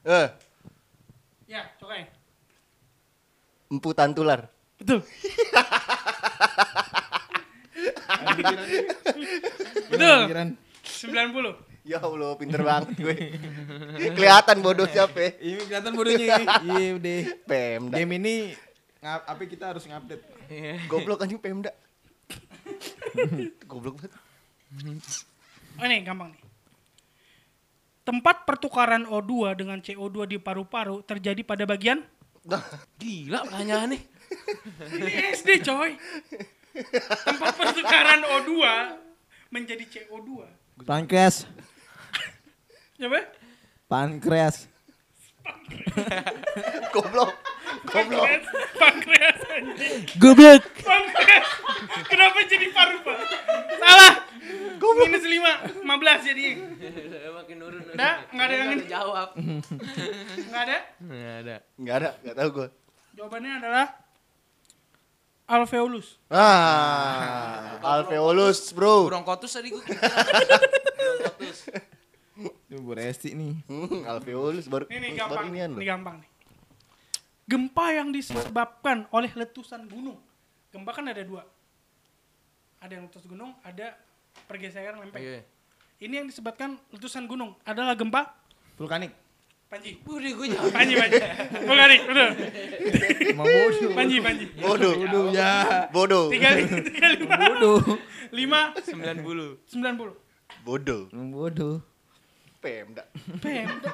[SPEAKER 4] Eh,
[SPEAKER 1] Ya, Cokai.
[SPEAKER 4] empu tantular.
[SPEAKER 1] Betul. Betul.
[SPEAKER 3] Pikiran.
[SPEAKER 1] 90.
[SPEAKER 4] Ya Allah, pinter banget gue. Kelihatan bodoh siapa. ya.
[SPEAKER 3] Ini kelihatan bodohnya ini. Iya udah.
[SPEAKER 4] Pemda.
[SPEAKER 3] Game ini ngap apa kita harus ngupdate.
[SPEAKER 4] Goblok anjing Pemda. Goblok banget.
[SPEAKER 1] Oh, ini gampang nih. Tempat pertukaran O2 dengan CO2 di paru-paru terjadi pada bagian
[SPEAKER 4] Dah.
[SPEAKER 2] Gila pertanyaan nih.
[SPEAKER 1] ini SD, coy. Tempat pertukaran O2 menjadi CO2.
[SPEAKER 3] Pankreas.
[SPEAKER 1] Coba.
[SPEAKER 3] Pankreas.
[SPEAKER 4] Goblok. Goblok.
[SPEAKER 1] Pankreas, pankreas anjing.
[SPEAKER 3] Goblok.
[SPEAKER 1] Pankreas. Kenapa jadi paru-paru? Salah. Minus 50. 5, 15 jadi.
[SPEAKER 2] Makin nurun.
[SPEAKER 1] Nggak, nggak ada yang ini.
[SPEAKER 2] jawab.
[SPEAKER 1] Enggak ada.
[SPEAKER 2] Enggak ada.
[SPEAKER 4] Enggak ada, enggak tahu gua.
[SPEAKER 1] Jawabannya adalah alveolus.
[SPEAKER 4] Ah, alveolus, Bro.
[SPEAKER 2] Bronkotus tadi gue.
[SPEAKER 3] Ini Bu Resti nih.
[SPEAKER 4] Hmm, alveolus baru
[SPEAKER 1] Ini nih
[SPEAKER 4] baru
[SPEAKER 1] gampang.
[SPEAKER 4] anu. inian
[SPEAKER 1] Ini
[SPEAKER 4] loh.
[SPEAKER 1] gampang nih. Gempa yang disebabkan oleh letusan gunung. Gempa kan ada dua. Ada yang letus gunung, ada pergeseran lempeng.
[SPEAKER 2] Iya.
[SPEAKER 1] Ini yang disebabkan letusan gunung adalah gempa
[SPEAKER 3] Vulkanik.
[SPEAKER 1] Panji.
[SPEAKER 2] Udah gue jawab.
[SPEAKER 1] Panji, Panji. Bukan nih, betul.
[SPEAKER 3] Emang bodoh.
[SPEAKER 1] Panji, Panji.
[SPEAKER 4] Bodoh.
[SPEAKER 3] Bodoh ya.
[SPEAKER 4] Bodoh.
[SPEAKER 1] Tiga, tiga, lima.
[SPEAKER 3] Bodoh.
[SPEAKER 1] Lima,
[SPEAKER 2] 90.
[SPEAKER 1] sembilan puluh.
[SPEAKER 4] Bodoh.
[SPEAKER 3] Emang bodoh.
[SPEAKER 4] Pemda.
[SPEAKER 1] Pemda.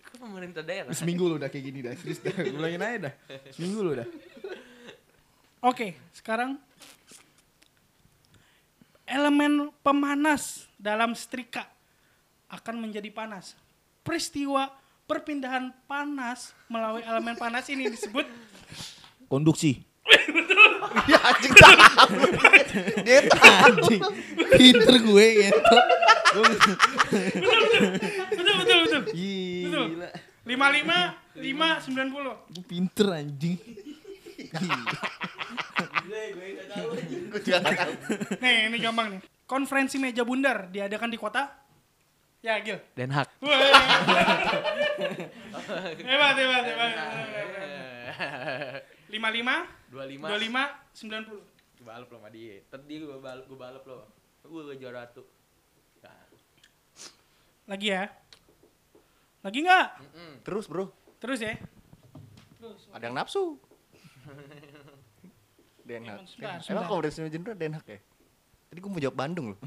[SPEAKER 2] Ke pemerintah daerah.
[SPEAKER 3] Seminggu lu udah kayak gini dah. Serius dah. Ulangin aja dah. Seminggu lu dah.
[SPEAKER 1] Oke, sekarang elemen pemanas dalam setrika akan menjadi panas. Peristiwa perpindahan panas melalui elemen panas ini disebut
[SPEAKER 3] Konduksi.
[SPEAKER 4] Ya anjing tahu. Dia tahu.
[SPEAKER 3] Anjing. Pinter gue
[SPEAKER 5] ya.
[SPEAKER 3] gitu.
[SPEAKER 1] betul betul betul.
[SPEAKER 3] Gila.
[SPEAKER 1] 55 590.
[SPEAKER 3] Gue pinter anjing.
[SPEAKER 4] Gua juga nggak tahu.
[SPEAKER 1] Nih, ini gampang nih. Konferensi meja bundar diadakan di kota Ya, Gil.
[SPEAKER 2] Den Haag.
[SPEAKER 1] Wah. hebat, hebat, hebat. Lima lima,
[SPEAKER 2] 25.
[SPEAKER 1] dua lima, sembilan puluh.
[SPEAKER 2] Gue balap loh sama dia. Tadi gue balap, gue balap loh. Gue ke juara satu. Ya.
[SPEAKER 1] Lagi ya? Lagi nggak?
[SPEAKER 2] Mm-mm.
[SPEAKER 4] Terus, Bro.
[SPEAKER 1] Terus ya?
[SPEAKER 4] Ada yang nafsu. Den Haag.
[SPEAKER 1] Sebentar,
[SPEAKER 4] Emang
[SPEAKER 1] sebentar.
[SPEAKER 4] konferensi jenderal Den Haag ya? Tadi gue mau jawab Bandung loh.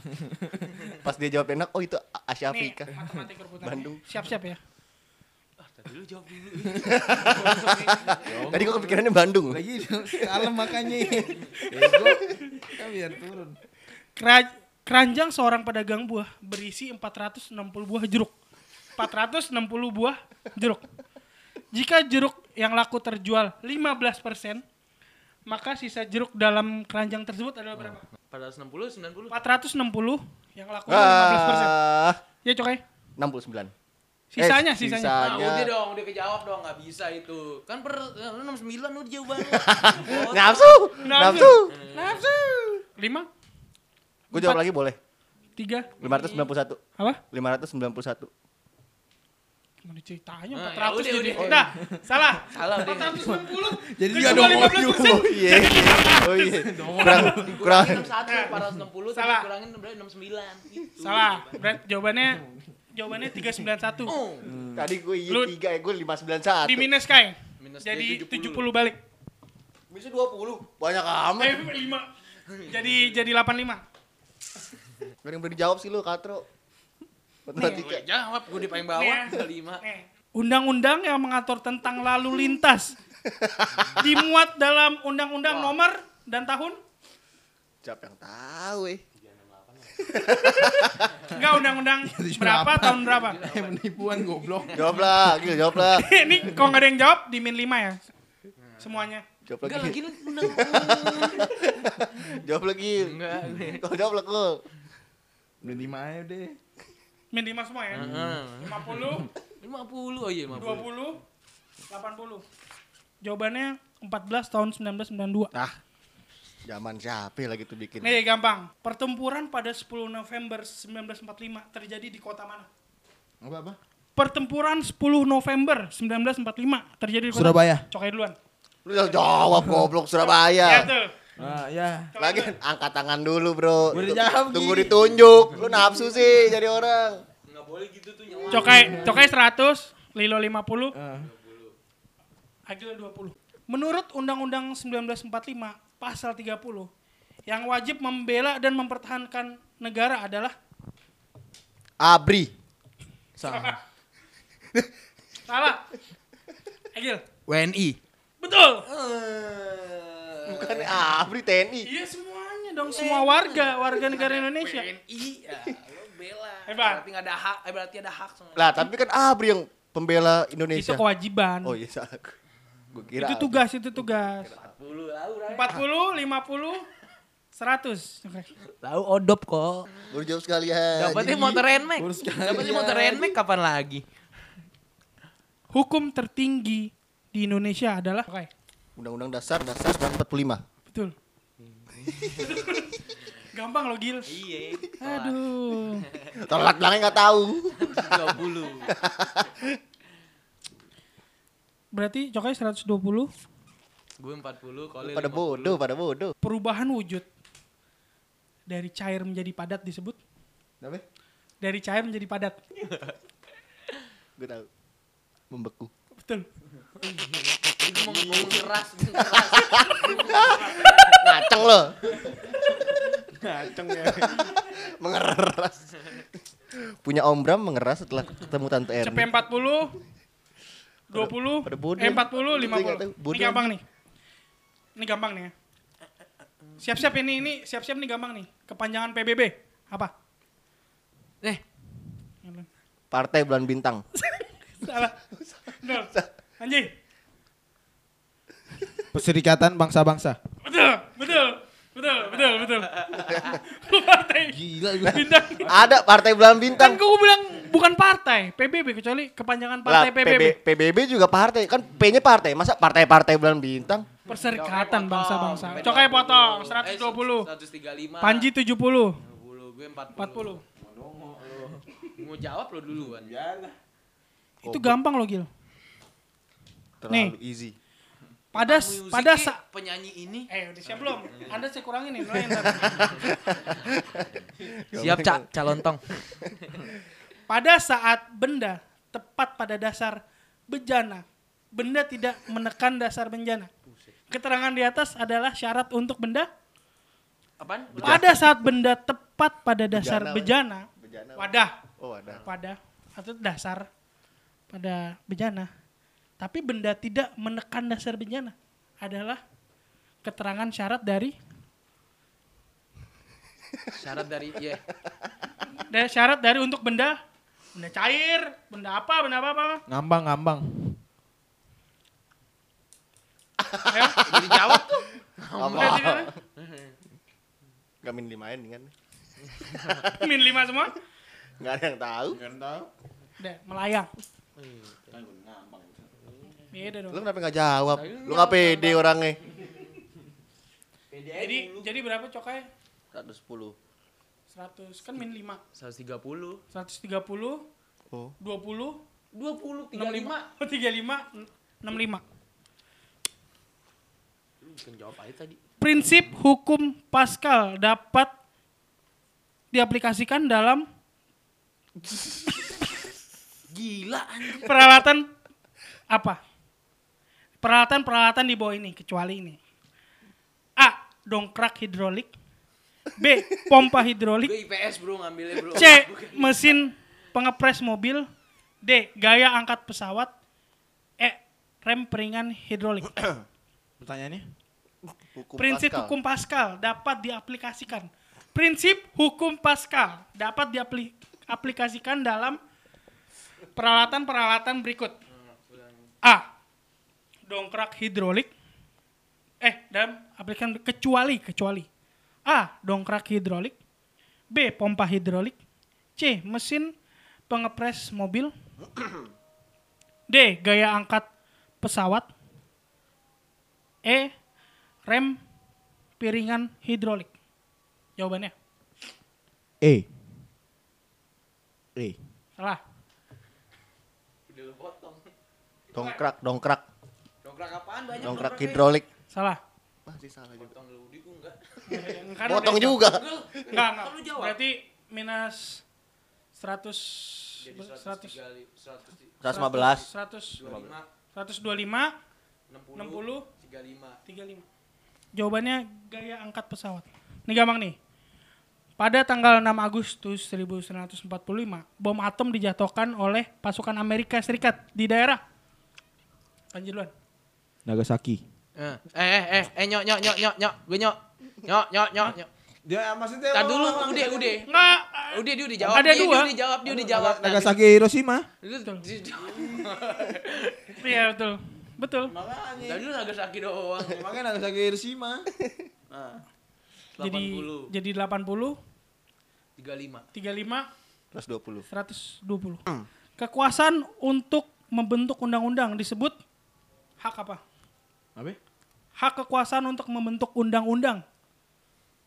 [SPEAKER 4] Pas dia jawab Den Haag, oh itu A- Asia
[SPEAKER 1] Nih,
[SPEAKER 4] Afrika.
[SPEAKER 1] matematika rebutan.
[SPEAKER 4] Bandung.
[SPEAKER 1] Siap-siap ya.
[SPEAKER 2] Ah, tadi lu jawab dulu.
[SPEAKER 1] Ya
[SPEAKER 4] Tadi gue kepikirannya Bandung. loh.
[SPEAKER 1] Oh,
[SPEAKER 3] Lagi kalem makanya.
[SPEAKER 5] ya.
[SPEAKER 3] Ego. Kan biar turun.
[SPEAKER 1] Kera- keranjang seorang pedagang buah berisi 460 buah jeruk. 460 buah jeruk. Jika jeruk yang laku terjual 15%, maka sisa jeruk dalam keranjang tersebut adalah berapa?
[SPEAKER 2] 460, 90.
[SPEAKER 1] 460 yang laku 15%.
[SPEAKER 4] Ah,
[SPEAKER 1] Ya, cokai.
[SPEAKER 4] 69.
[SPEAKER 1] Sisanya,
[SPEAKER 4] Eh,
[SPEAKER 1] sisanya.
[SPEAKER 2] Ah, udah
[SPEAKER 4] sisanya.
[SPEAKER 2] dong, udah kejawab dong, gak bisa itu. Kan per eh, lu 69 udah jauh banget.
[SPEAKER 4] Nafsu. Nafsu.
[SPEAKER 1] Nafsu. 5
[SPEAKER 4] Gue jawab lagi boleh.
[SPEAKER 1] 3
[SPEAKER 4] 591.
[SPEAKER 1] apa?
[SPEAKER 4] 591.
[SPEAKER 1] Gimana ceritanya
[SPEAKER 2] Ah,
[SPEAKER 1] 400
[SPEAKER 2] ya udah,
[SPEAKER 1] jadi.
[SPEAKER 2] udah.
[SPEAKER 1] Nah, salah.
[SPEAKER 2] Salah, udah.
[SPEAKER 1] 460.
[SPEAKER 3] Jadi
[SPEAKER 1] Jadi
[SPEAKER 3] dia
[SPEAKER 1] cuma
[SPEAKER 3] dong,
[SPEAKER 1] 15%.
[SPEAKER 4] Iya Oh iya. Oh iya. Kurang kurang.
[SPEAKER 2] Kurangin 61,
[SPEAKER 1] Salah.
[SPEAKER 2] 460, tapi kurangin berarti 69. Gitu.
[SPEAKER 1] Salah. Brad, jawabannya jawabannya 391.
[SPEAKER 2] Oh,
[SPEAKER 4] Tadi gue iya
[SPEAKER 1] Lu-
[SPEAKER 4] 3 ya, gue 591.
[SPEAKER 1] Di minus kain.
[SPEAKER 2] Minus
[SPEAKER 1] Jadi
[SPEAKER 2] dia 70.
[SPEAKER 1] 70. balik.
[SPEAKER 4] Bisa 20. Banyak amat.
[SPEAKER 1] Eh, 5. Jadi jadi 85.
[SPEAKER 4] Gak ada yang berani jawab sih lu, Katro.
[SPEAKER 1] Iya.
[SPEAKER 2] gue
[SPEAKER 4] Matematika.
[SPEAKER 2] jawab, gue di
[SPEAKER 1] Nih
[SPEAKER 2] paling bawah,
[SPEAKER 1] ya.
[SPEAKER 2] 5.
[SPEAKER 1] Nih. Undang-undang yang mengatur tentang lalu lintas dimuat dalam Undang-Undang Nomor dan tahun
[SPEAKER 4] Siapa yang tahu, eh.
[SPEAKER 1] enggak undang-undang
[SPEAKER 3] Jadi
[SPEAKER 1] berapa
[SPEAKER 3] berapa?
[SPEAKER 1] tahun berapa?
[SPEAKER 3] Eh menipuan goblok.
[SPEAKER 4] Jawab lah, Gil, jawab lah.
[SPEAKER 1] Ini kalau nggak ada yang jawab di min 5 ya. Semuanya.
[SPEAKER 4] Jawab
[SPEAKER 2] Enggak
[SPEAKER 4] lagi.
[SPEAKER 2] lagi lu undang.
[SPEAKER 4] Jawab lagi.
[SPEAKER 2] Enggak.
[SPEAKER 4] Kau jawab lah, Gil.
[SPEAKER 3] Udah lima aja deh.
[SPEAKER 1] Min 5 semua ya.
[SPEAKER 2] Heeh.
[SPEAKER 1] 50,
[SPEAKER 2] 50. Oh iya, 50.
[SPEAKER 1] 20, 80. Jawabannya 14 tahun 1992.
[SPEAKER 4] Nah. Zaman siapa lagi tuh bikin?
[SPEAKER 1] Nih gampang. Pertempuran pada 10 November 1945 terjadi di kota mana?
[SPEAKER 3] Apa apa?
[SPEAKER 1] Pertempuran 10 November 1945 terjadi di kota
[SPEAKER 3] Surabaya.
[SPEAKER 1] Cokai duluan.
[SPEAKER 4] Lu jangan jawab goblok
[SPEAKER 1] Ya
[SPEAKER 4] Surabaya.
[SPEAKER 1] tuh.
[SPEAKER 3] Ah ya.
[SPEAKER 1] Cokai
[SPEAKER 4] Lagi
[SPEAKER 1] duluan.
[SPEAKER 4] angkat tangan dulu, Bro.
[SPEAKER 3] Gua udah jawab,
[SPEAKER 4] Tunggu
[SPEAKER 3] Gi.
[SPEAKER 4] ditunjuk. Lu nafsu sih jadi orang.
[SPEAKER 2] Enggak boleh gitu tuh nyawa.
[SPEAKER 1] Cokai, Cokai 100, Lilo 50,
[SPEAKER 3] Ah.
[SPEAKER 1] Agil 20. Menurut Undang-Undang 1945 pasal 30 yang wajib membela dan mempertahankan negara adalah
[SPEAKER 4] Abri.
[SPEAKER 3] Salah.
[SPEAKER 1] salah. Agil.
[SPEAKER 2] WNI.
[SPEAKER 1] Betul.
[SPEAKER 4] Bukan Abri TNI.
[SPEAKER 1] Iya semuanya dong, semua warga, warga negara Indonesia.
[SPEAKER 2] WNI ya, lo bela.
[SPEAKER 1] Hebat.
[SPEAKER 2] Berarti nggak ada hak, eh, berarti ada hak sama.
[SPEAKER 4] Lah, tapi kan Abri yang pembela
[SPEAKER 1] Itu
[SPEAKER 4] Indonesia.
[SPEAKER 1] kewajiban.
[SPEAKER 4] Oh iya, salah. Gue kira.
[SPEAKER 1] Itu tugas, itu tugas.
[SPEAKER 2] 40 lah, udah.
[SPEAKER 1] 40, 50, 60, 100. Oke.
[SPEAKER 2] Tahu odop kok.
[SPEAKER 4] Baru jawab sekalian.
[SPEAKER 2] Dapatnya motor Nmax.
[SPEAKER 3] Baru sekali.
[SPEAKER 2] Dapatnya motor Nmax kapan lagi?
[SPEAKER 1] Hukum tertinggi di Indonesia adalah Oke.
[SPEAKER 4] Undang-Undang Dasar Dasar 1945.
[SPEAKER 1] Betul. Gampang lo Gil.
[SPEAKER 2] Iya.
[SPEAKER 1] Aduh.
[SPEAKER 4] Tolak belakangnya nggak tahu.
[SPEAKER 2] 20.
[SPEAKER 1] Berarti cokai 120.
[SPEAKER 2] Gue 40, Kolil
[SPEAKER 4] Pada
[SPEAKER 2] 50.
[SPEAKER 4] bodoh, pada bodoh.
[SPEAKER 1] Perubahan wujud dari cair menjadi padat disebut
[SPEAKER 4] Kenapa?
[SPEAKER 1] dari cair menjadi padat.
[SPEAKER 4] Gue tahu. Membeku.
[SPEAKER 1] Betul.
[SPEAKER 2] Ini mau ngomong keras.
[SPEAKER 4] Ngaceng lo.
[SPEAKER 3] Ngaceng ya.
[SPEAKER 4] Mengeras. Punya Om Bram mengeras setelah ketemu Tante Erni.
[SPEAKER 1] CP 40 20
[SPEAKER 4] pada bodoh.
[SPEAKER 1] eh 40
[SPEAKER 4] Gue nggak tahu,
[SPEAKER 1] 50. Ini
[SPEAKER 4] bodoh.
[SPEAKER 1] gampang nih. Ini gampang nih ya. Siap-siap ini ini siap-siap nih gampang nih. Kepanjangan PBB apa?
[SPEAKER 2] Eh,
[SPEAKER 4] Partai Bulan Bintang.
[SPEAKER 1] Salah. Betul. Anjing.
[SPEAKER 5] Perserikatan bangsa-bangsa.
[SPEAKER 1] Betul, betul. Betul, betul, betul. Partai.
[SPEAKER 3] Gila gue.
[SPEAKER 1] Bintang.
[SPEAKER 4] Ada Partai
[SPEAKER 1] Kan
[SPEAKER 4] Bulan Bintang.
[SPEAKER 1] gue bilang bukan partai, PBB kecuali kepanjangan
[SPEAKER 4] Lah,
[SPEAKER 1] partai PBB.
[SPEAKER 4] PB- PBB juga partai. Kan P-nya partai. Masa partai-partai Bulan Bintang?
[SPEAKER 1] Perserikatan bangsa-bangsa. Cokai potong
[SPEAKER 2] Eh,
[SPEAKER 1] 120.
[SPEAKER 2] 135.
[SPEAKER 1] Panji 70.
[SPEAKER 2] 40, gue
[SPEAKER 1] 40.
[SPEAKER 2] 40. Mau jawab lo duluan.
[SPEAKER 1] Itu gampang loh, Gil.
[SPEAKER 4] Terlalu easy.
[SPEAKER 1] Pada
[SPEAKER 2] Musiknya
[SPEAKER 1] pada sa-
[SPEAKER 2] penyanyi ini
[SPEAKER 1] Eh, udah siap belum? Anda saya kurangin nih nilainya ntar.
[SPEAKER 2] siap cak calon tong.
[SPEAKER 1] Pada saat benda tepat pada dasar bejana, benda tidak menekan dasar bencana. Keterangan di atas adalah syarat untuk benda.
[SPEAKER 2] Apaan?
[SPEAKER 1] Pada saat benda tepat pada dasar bejana,
[SPEAKER 4] Bejana.
[SPEAKER 1] wadah,
[SPEAKER 4] Oh, ada.
[SPEAKER 1] pada atau dasar pada bejana. Tapi benda tidak menekan dasar bencana adalah keterangan syarat dari
[SPEAKER 2] Syarat dari ya.
[SPEAKER 1] dari syarat dari untuk benda benda cair, benda apa, benda apa, apa. apa.
[SPEAKER 5] Ngambang-ngambang.
[SPEAKER 1] Ayo.
[SPEAKER 2] Udah dijawab tuh.
[SPEAKER 1] Udah
[SPEAKER 4] Apa?
[SPEAKER 1] tidak ada?
[SPEAKER 4] Gamin limain kan.
[SPEAKER 1] Min lima semua.
[SPEAKER 4] Nggak ada yang tahu.
[SPEAKER 1] Udah, melayang. Beda dong.
[SPEAKER 4] Lu kenapa nggak jawab? Lu nggak pede orangnya.
[SPEAKER 1] Jadi jadi berapa cokai?
[SPEAKER 4] 110.
[SPEAKER 1] 100 kan min 5.
[SPEAKER 2] 130.
[SPEAKER 1] 130 20
[SPEAKER 4] Oh.
[SPEAKER 1] 65
[SPEAKER 2] 20 35.
[SPEAKER 1] 35 65.
[SPEAKER 2] Lu bukan jawab aja tadi.
[SPEAKER 1] Prinsip hukum Pascal dapat diaplikasikan dalam
[SPEAKER 2] Gila anjir.
[SPEAKER 1] peralatan apa? Peralatan-peralatan di bawah ini kecuali ini. A. Dongkrak hidrolik. B. Pompa hidrolik.
[SPEAKER 2] Gue IPS bro ngambilnya bro.
[SPEAKER 1] C. Mesin pengepres mobil. D. Gaya angkat pesawat. E. Rem peringan hidrolik.
[SPEAKER 5] Pertanyaannya?
[SPEAKER 4] Hukum
[SPEAKER 1] Prinsip
[SPEAKER 4] Pascal.
[SPEAKER 1] hukum Pascal dapat diaplikasikan. Prinsip hukum Pascal dapat diaplikasikan dalam peralatan-peralatan berikut. A. Dongkrak hidrolik. Eh, dalam aplikasi kecuali kecuali. A. Dongkrak hidrolik. B. Pompa hidrolik. C. Mesin pengepres mobil. D. Gaya angkat pesawat. E. Rem piringan hidrolik. Jawabannya
[SPEAKER 5] E. E.
[SPEAKER 4] Eh,
[SPEAKER 1] salah.
[SPEAKER 2] Udah lu potong.
[SPEAKER 4] Dongkrak, dongkrak,
[SPEAKER 2] Dongkrak apaan banyak
[SPEAKER 4] dongkrak
[SPEAKER 2] dongkraknya.
[SPEAKER 4] hidrolik.
[SPEAKER 1] Salah.
[SPEAKER 4] Masih salah juga.
[SPEAKER 2] Potong lu di gua enggak.
[SPEAKER 1] Kan
[SPEAKER 4] Potong
[SPEAKER 1] udah-
[SPEAKER 4] juga.
[SPEAKER 1] Enggak, enggak.
[SPEAKER 2] Kan lu jawab.
[SPEAKER 1] Berarti minus 100
[SPEAKER 2] Jadi
[SPEAKER 1] 100
[SPEAKER 2] 130 100
[SPEAKER 4] 115.
[SPEAKER 1] 100
[SPEAKER 2] 25
[SPEAKER 1] 125 60
[SPEAKER 2] 60 35.
[SPEAKER 1] 35. Jawabannya gaya angkat pesawat. Ini gampang nih. Pada tanggal 6 Agustus 1945, bom atom dijatuhkan oleh pasukan Amerika Serikat di daerah Panji duluan.
[SPEAKER 5] Nagasaki.
[SPEAKER 2] Eh, eh, eh, eh, nyok, nyok, nyok, nyok, nyok, gue nyok, nyok, nyok, nyok, nyok.
[SPEAKER 5] Dia ah, maksudnya
[SPEAKER 2] Tar dulu, udah, udah,
[SPEAKER 1] Enggak,
[SPEAKER 2] udah, dia udah jawab,
[SPEAKER 1] Ada
[SPEAKER 2] dia,
[SPEAKER 1] dua.
[SPEAKER 2] dia udah jawab, dia udah jawab. Nah,
[SPEAKER 5] Nagasaki Hiroshima.
[SPEAKER 2] Lu
[SPEAKER 1] iya betul. Betul.
[SPEAKER 2] Tadi lu agak sakit doang.
[SPEAKER 5] Makanya Nagasaki Hiroshima.
[SPEAKER 1] jadi
[SPEAKER 2] 80.
[SPEAKER 1] jadi 80,
[SPEAKER 2] 35.
[SPEAKER 1] 35,
[SPEAKER 4] Plus 20.
[SPEAKER 1] 120. Kekuasaan untuk membentuk undang-undang disebut hak apa?
[SPEAKER 5] Apa?
[SPEAKER 1] Hak kekuasaan untuk membentuk undang-undang.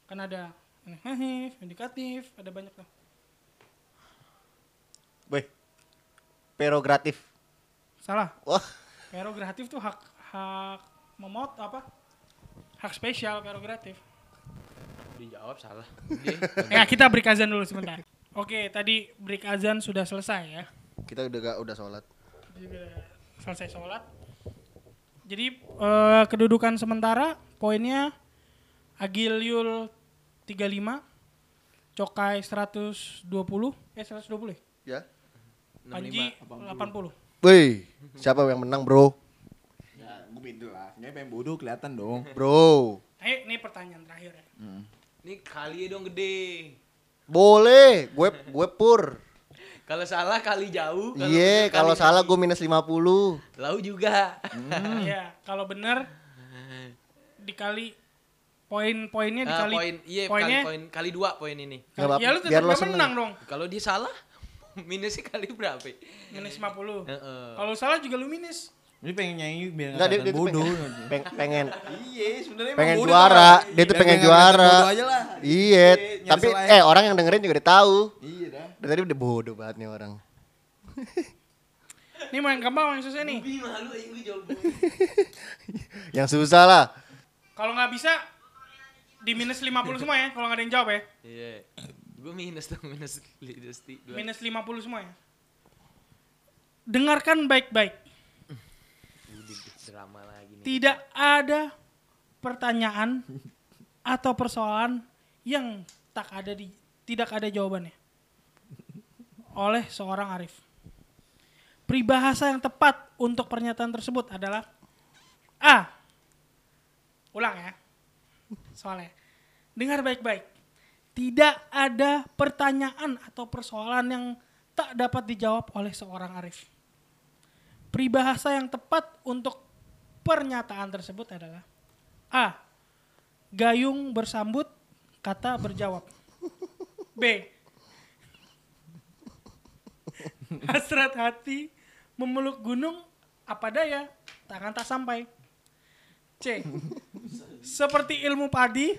[SPEAKER 1] Kan ada negatif, indikatif, ada banyak tuh.
[SPEAKER 4] Boy. Prerogatif.
[SPEAKER 1] Salah.
[SPEAKER 4] Wah,
[SPEAKER 1] Prerogatif tuh hak hak memot apa? Hak spesial prerogatif.
[SPEAKER 2] Dijawab salah.
[SPEAKER 1] Ya, kita break azan dulu sebentar. Oke, tadi break azan sudah selesai ya.
[SPEAKER 4] kita udah gak udah sholat.
[SPEAKER 1] Juga selesai sholat. Jadi eh, kedudukan sementara poinnya Agiliul 35, Cokai 120, eh 120 ya?
[SPEAKER 4] Ya.
[SPEAKER 1] Panji 80.
[SPEAKER 4] Woi, siapa yang menang, Bro?
[SPEAKER 5] Ya, gue pintu lah. Sebenernya pengen bodoh kelihatan dong.
[SPEAKER 4] Bro.
[SPEAKER 1] Ayo, Nah, ini pertanyaan terakhir ya.
[SPEAKER 2] Ini kali ya dong gede.
[SPEAKER 4] Boleh, gue gue pur.
[SPEAKER 2] Kalau salah kali jauh. bener
[SPEAKER 4] Iya, kalau
[SPEAKER 2] kali
[SPEAKER 4] salah
[SPEAKER 2] kaki.
[SPEAKER 4] gue minus 50.
[SPEAKER 2] Lau juga.
[SPEAKER 4] Hmm.
[SPEAKER 1] Ya, kalau benar dikali poin-poinnya
[SPEAKER 2] Ah,
[SPEAKER 1] dikali
[SPEAKER 2] poin, iya kali
[SPEAKER 1] poinnya.
[SPEAKER 2] poin kali dua poin ini.
[SPEAKER 4] Nggak apa-apa,
[SPEAKER 1] Ya lu tetap
[SPEAKER 4] biar lo
[SPEAKER 1] nggak
[SPEAKER 4] seneng.
[SPEAKER 1] menang dong.
[SPEAKER 2] Kalau dia salah minusnya kali berapa? ya?
[SPEAKER 1] Minus 50.
[SPEAKER 2] Heeh.
[SPEAKER 1] Kalau salah juga lu minus.
[SPEAKER 5] Ini pengen nyanyi biar
[SPEAKER 4] Enggak dia, dia
[SPEAKER 5] kelihatan
[SPEAKER 4] tuh
[SPEAKER 5] bodoh.
[SPEAKER 4] pengen, peng- pengen
[SPEAKER 5] Iya, sebenarnya emang
[SPEAKER 4] pengen
[SPEAKER 5] bodoh
[SPEAKER 4] juara,
[SPEAKER 5] orang.
[SPEAKER 4] dia tuh
[SPEAKER 5] Biar
[SPEAKER 4] pengen
[SPEAKER 5] biar kelihatan
[SPEAKER 4] juara.
[SPEAKER 5] Ya, bodoh aja lah.
[SPEAKER 4] Iya,
[SPEAKER 5] nyari
[SPEAKER 4] tapi
[SPEAKER 5] selain.
[SPEAKER 4] eh orang yang dengerin juga udah tahu.
[SPEAKER 5] Iya dah.
[SPEAKER 4] Dari tadi udah bodoh banget nih orang.
[SPEAKER 1] Ini main gampang main susah nih.
[SPEAKER 2] Ih, malu aing gue jawab.
[SPEAKER 4] Yang susah lah.
[SPEAKER 1] Kalau nggak bisa di minus 50 semua ya. Kalau nggak ada yang jawab ya.
[SPEAKER 2] Iya. Gue minus dong minus minus ti- dua.
[SPEAKER 1] Minus 50 semua ya. Dengarkan baik-baik.
[SPEAKER 2] Udin, drama lagi nih.
[SPEAKER 1] Tidak ada pertanyaan atau persoalan yang tak ada di tidak ada jawabannya oleh seorang arif. Peribahasa yang tepat untuk pernyataan tersebut adalah A. Ulang ya. Soalnya. Dengar baik-baik. Tidak ada pertanyaan atau persoalan yang tak dapat dijawab oleh seorang arif. Peribahasa yang tepat untuk pernyataan tersebut adalah A. Gayung bersambut, kata berjawab. B. Hasrat hati memeluk gunung apa daya, tangan tak sampai. C. Seperti ilmu padi,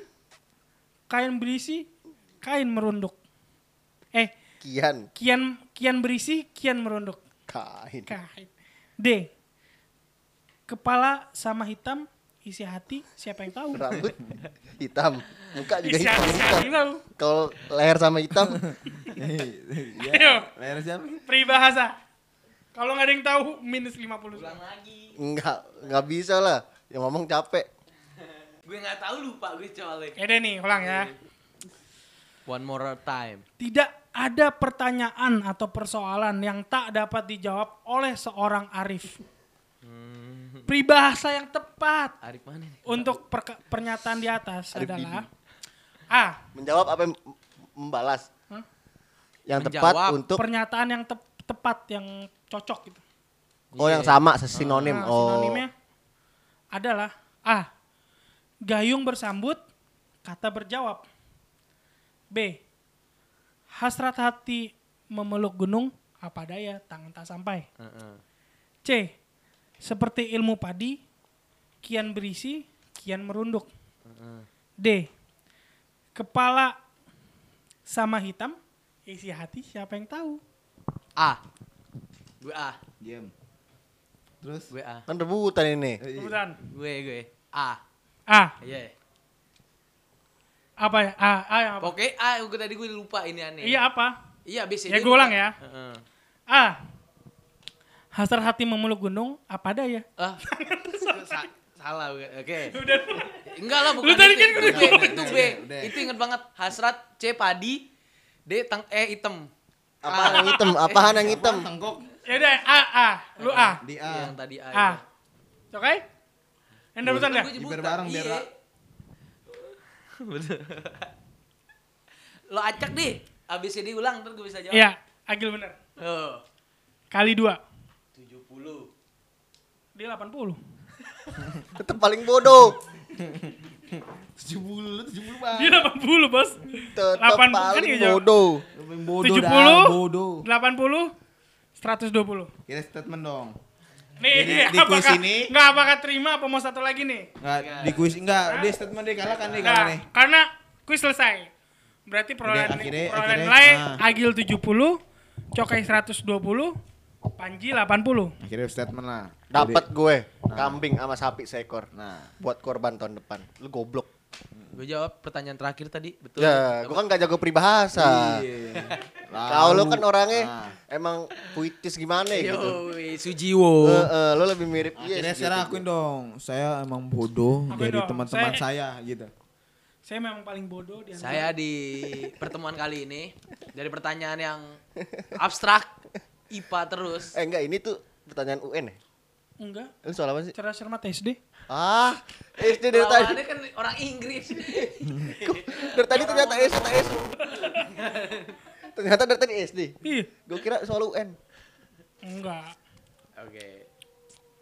[SPEAKER 1] kain berisi, kain merunduk. Eh,
[SPEAKER 4] Kian
[SPEAKER 1] kian kian berisi, kian merunduk.
[SPEAKER 4] kain.
[SPEAKER 1] Kain. D. Kepala sama hitam, isi hati, siapa yang tahu?
[SPEAKER 4] Rambut hitam, muka juga
[SPEAKER 1] Isi
[SPEAKER 4] hitam.
[SPEAKER 1] hati, siapa yang tahu?
[SPEAKER 4] Kalau leher sama hitam,
[SPEAKER 1] Ayo,
[SPEAKER 5] Layar siapa?
[SPEAKER 1] peribahasa. Kalau nggak ada yang tahu, minus 50.
[SPEAKER 2] Ulang lagi.
[SPEAKER 4] enggak enggak bisa lah. Yang ngomong capek.
[SPEAKER 2] Gue nggak tahu lupa gue soalnya.
[SPEAKER 1] Oke deh nih, ulang ya.
[SPEAKER 2] One more time.
[SPEAKER 1] Tidak ada pertanyaan atau persoalan yang tak dapat dijawab oleh seorang arif.
[SPEAKER 4] Hmm.
[SPEAKER 1] Peribahasa yang tepat
[SPEAKER 2] Arif mana nih?
[SPEAKER 1] untuk perka- pernyataan di atas adalah A.
[SPEAKER 4] Menjawab apa yang m- membalas?
[SPEAKER 1] Hah?
[SPEAKER 4] Yang
[SPEAKER 2] Menjawab.
[SPEAKER 4] tepat untuk
[SPEAKER 1] Pernyataan yang tep- tepat, yang cocok gitu.
[SPEAKER 4] oh yang sama sinonim.
[SPEAKER 1] Nah,
[SPEAKER 4] oh.
[SPEAKER 1] Sinonimnya adalah A. Gayung bersambut, kata berjawab. B. Hasrat hati memeluk gunung, apa daya tangan tak sampai.
[SPEAKER 2] Heeh.
[SPEAKER 1] C. Seperti ilmu padi, kian berisi, kian merunduk. D. Kepala sama hitam, isi hati siapa yang tahu.
[SPEAKER 2] A.
[SPEAKER 4] Iya.
[SPEAKER 2] Gue A.
[SPEAKER 5] Diam. Terus?
[SPEAKER 2] Gue A.
[SPEAKER 4] Kan rebutan ini.
[SPEAKER 1] Kemudian
[SPEAKER 2] Gue gue ya. A.
[SPEAKER 1] A.
[SPEAKER 2] Iya.
[SPEAKER 1] Apa ya? A, A yang apa?
[SPEAKER 2] Oke, A gue tadi gue lupa ini aneh.
[SPEAKER 1] Iya apa?
[SPEAKER 2] Iya, B C.
[SPEAKER 1] Ya,
[SPEAKER 2] D,
[SPEAKER 1] gue ulang
[SPEAKER 2] lupa.
[SPEAKER 1] ya.
[SPEAKER 2] Heeh.
[SPEAKER 1] A. Hasrat hati memeluk gunung, apa ya? daya?
[SPEAKER 2] Ah. Sa- Salah gue. Oke.
[SPEAKER 1] Udah.
[SPEAKER 2] Enggak lah bukan.
[SPEAKER 1] Lu tadi
[SPEAKER 2] itu.
[SPEAKER 1] kan udah
[SPEAKER 2] Itu,
[SPEAKER 1] jawab.
[SPEAKER 2] Itu B. Itu inget banget. Hasrat C padi, D tang E hitam.
[SPEAKER 1] Ah.
[SPEAKER 4] Apaan yang hitam? Apaan
[SPEAKER 1] Iya.
[SPEAKER 4] yang hitam?
[SPEAKER 5] Ah,
[SPEAKER 1] Ya udah A A, lu A.
[SPEAKER 5] Di
[SPEAKER 2] Iya,
[SPEAKER 5] A.
[SPEAKER 2] Yang tadi A.
[SPEAKER 1] A. Oke? Yang rebutan ya?
[SPEAKER 5] Biar bareng, biar ra-
[SPEAKER 2] E. Bener. Lo acak deh. Abis ini ulang ntar gue bisa jawab.
[SPEAKER 1] Iya, Agil bener.
[SPEAKER 2] Oh,
[SPEAKER 1] Kali 2.
[SPEAKER 2] 70.
[SPEAKER 1] Dia 80.
[SPEAKER 4] Tetap paling bodoh.
[SPEAKER 5] 70 lu 70 bang.
[SPEAKER 1] Dia 80, Bos.
[SPEAKER 4] Tetep
[SPEAKER 1] 80 kan
[SPEAKER 4] paling
[SPEAKER 1] ya, Jo?
[SPEAKER 4] bodoh.
[SPEAKER 5] Lu paling bodoh
[SPEAKER 1] 70,
[SPEAKER 5] dah, bodoh.
[SPEAKER 1] 80, 120.
[SPEAKER 5] Kita statement dong.
[SPEAKER 1] Nih,
[SPEAKER 5] Jadi
[SPEAKER 1] nih,
[SPEAKER 5] di kuis
[SPEAKER 1] apakah,
[SPEAKER 5] ini-
[SPEAKER 1] nggak apakah terima apa mau satu lagi nih?
[SPEAKER 5] Enggak di kuis enggak, dia statement dia kalah kan dia kalah
[SPEAKER 1] Nah,
[SPEAKER 5] nih.
[SPEAKER 1] karena kuis selesai. Berarti perolehan
[SPEAKER 5] Udah, akhirnya-
[SPEAKER 1] perolehan
[SPEAKER 5] akhirnya,
[SPEAKER 1] nilai
[SPEAKER 5] ah.
[SPEAKER 1] Agil 70, Cokai 120, Panji 80.
[SPEAKER 5] Akhirnya statement lah.
[SPEAKER 4] Dapat gue kambing sama sapi seekor.
[SPEAKER 5] Nah,
[SPEAKER 4] Buat korban tahun depan. Lu goblok.
[SPEAKER 2] Gue jawab pertanyaan terakhir tadi, betul.
[SPEAKER 5] Iya.
[SPEAKER 4] Ya, gue kan gak jago peribahasa. Kau lu kan orangnya
[SPEAKER 5] Ah. Nah.
[SPEAKER 4] emang puitis gimana
[SPEAKER 1] Iya.
[SPEAKER 4] ya gitu.
[SPEAKER 2] Yo, Sujiwo.
[SPEAKER 4] Eh, eh, lu lebih mirip
[SPEAKER 5] Iya. Akhirnya
[SPEAKER 4] Yes
[SPEAKER 5] sekarang
[SPEAKER 4] gitu.
[SPEAKER 5] akuin dong, saya emang bodoh
[SPEAKER 1] Akuin
[SPEAKER 5] dari
[SPEAKER 1] dong,
[SPEAKER 5] teman-teman
[SPEAKER 1] saya-
[SPEAKER 5] saya gitu.
[SPEAKER 1] Saya memang paling bodoh di antara-
[SPEAKER 2] Saya di pertemuan kali ini dari pertanyaan yang abstrak IPA terus.
[SPEAKER 4] Eh enggak, ini tuh pertanyaan UN ya?
[SPEAKER 1] Enggak,
[SPEAKER 4] Lu soal apa sih?
[SPEAKER 1] cerdas cermat SD.
[SPEAKER 4] Ah, SD dari tadi.
[SPEAKER 2] Lawannya kan orang Inggris.
[SPEAKER 4] Dari tadi ternyata SD, ternyata SD. ternyata dari tadi SD.
[SPEAKER 1] Ih,
[SPEAKER 4] Gue kira soal UN.
[SPEAKER 1] enggak.
[SPEAKER 2] Oke.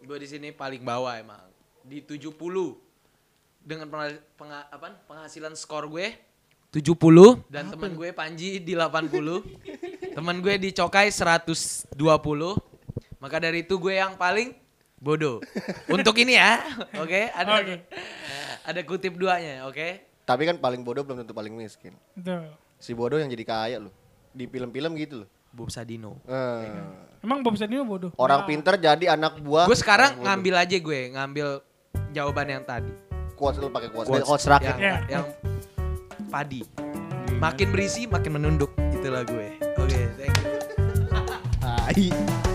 [SPEAKER 2] Gue di sini paling bawah emang. Di 70 dengan penga- penga- apaan? penghasilan skor gue 70 dan teman gue Panji di 80. teman gue di Cokai 120. Maka dari itu gue yang paling bodoh. Untuk ini ya. Oke, ada
[SPEAKER 1] Oke.
[SPEAKER 2] ada kutip duanya, oke?
[SPEAKER 4] Tapi kan paling bodoh belum tentu paling miskin.
[SPEAKER 1] Betul.
[SPEAKER 4] Si bodoh yang jadi kaya loh. Di film-film gitu loh.
[SPEAKER 2] Bob Sadino.
[SPEAKER 4] Eh,
[SPEAKER 1] Emang Bob Sadino bodoh. Nah.
[SPEAKER 4] orang
[SPEAKER 1] Wah.
[SPEAKER 4] pinter jadi anak buah.
[SPEAKER 2] Gue sekarang ngambil aja gue, ngambil jawaban yang tadi.
[SPEAKER 4] quotes lu pakai quotes.
[SPEAKER 2] Quotes
[SPEAKER 4] Quotes, quotes rakyat.
[SPEAKER 2] yang,
[SPEAKER 1] Ya.
[SPEAKER 2] yang padi. Gitu
[SPEAKER 4] Ah,
[SPEAKER 2] Makin berisi makin menunduk. Itulah gue. Oke, thank you.
[SPEAKER 4] iya.
[SPEAKER 5] Tai.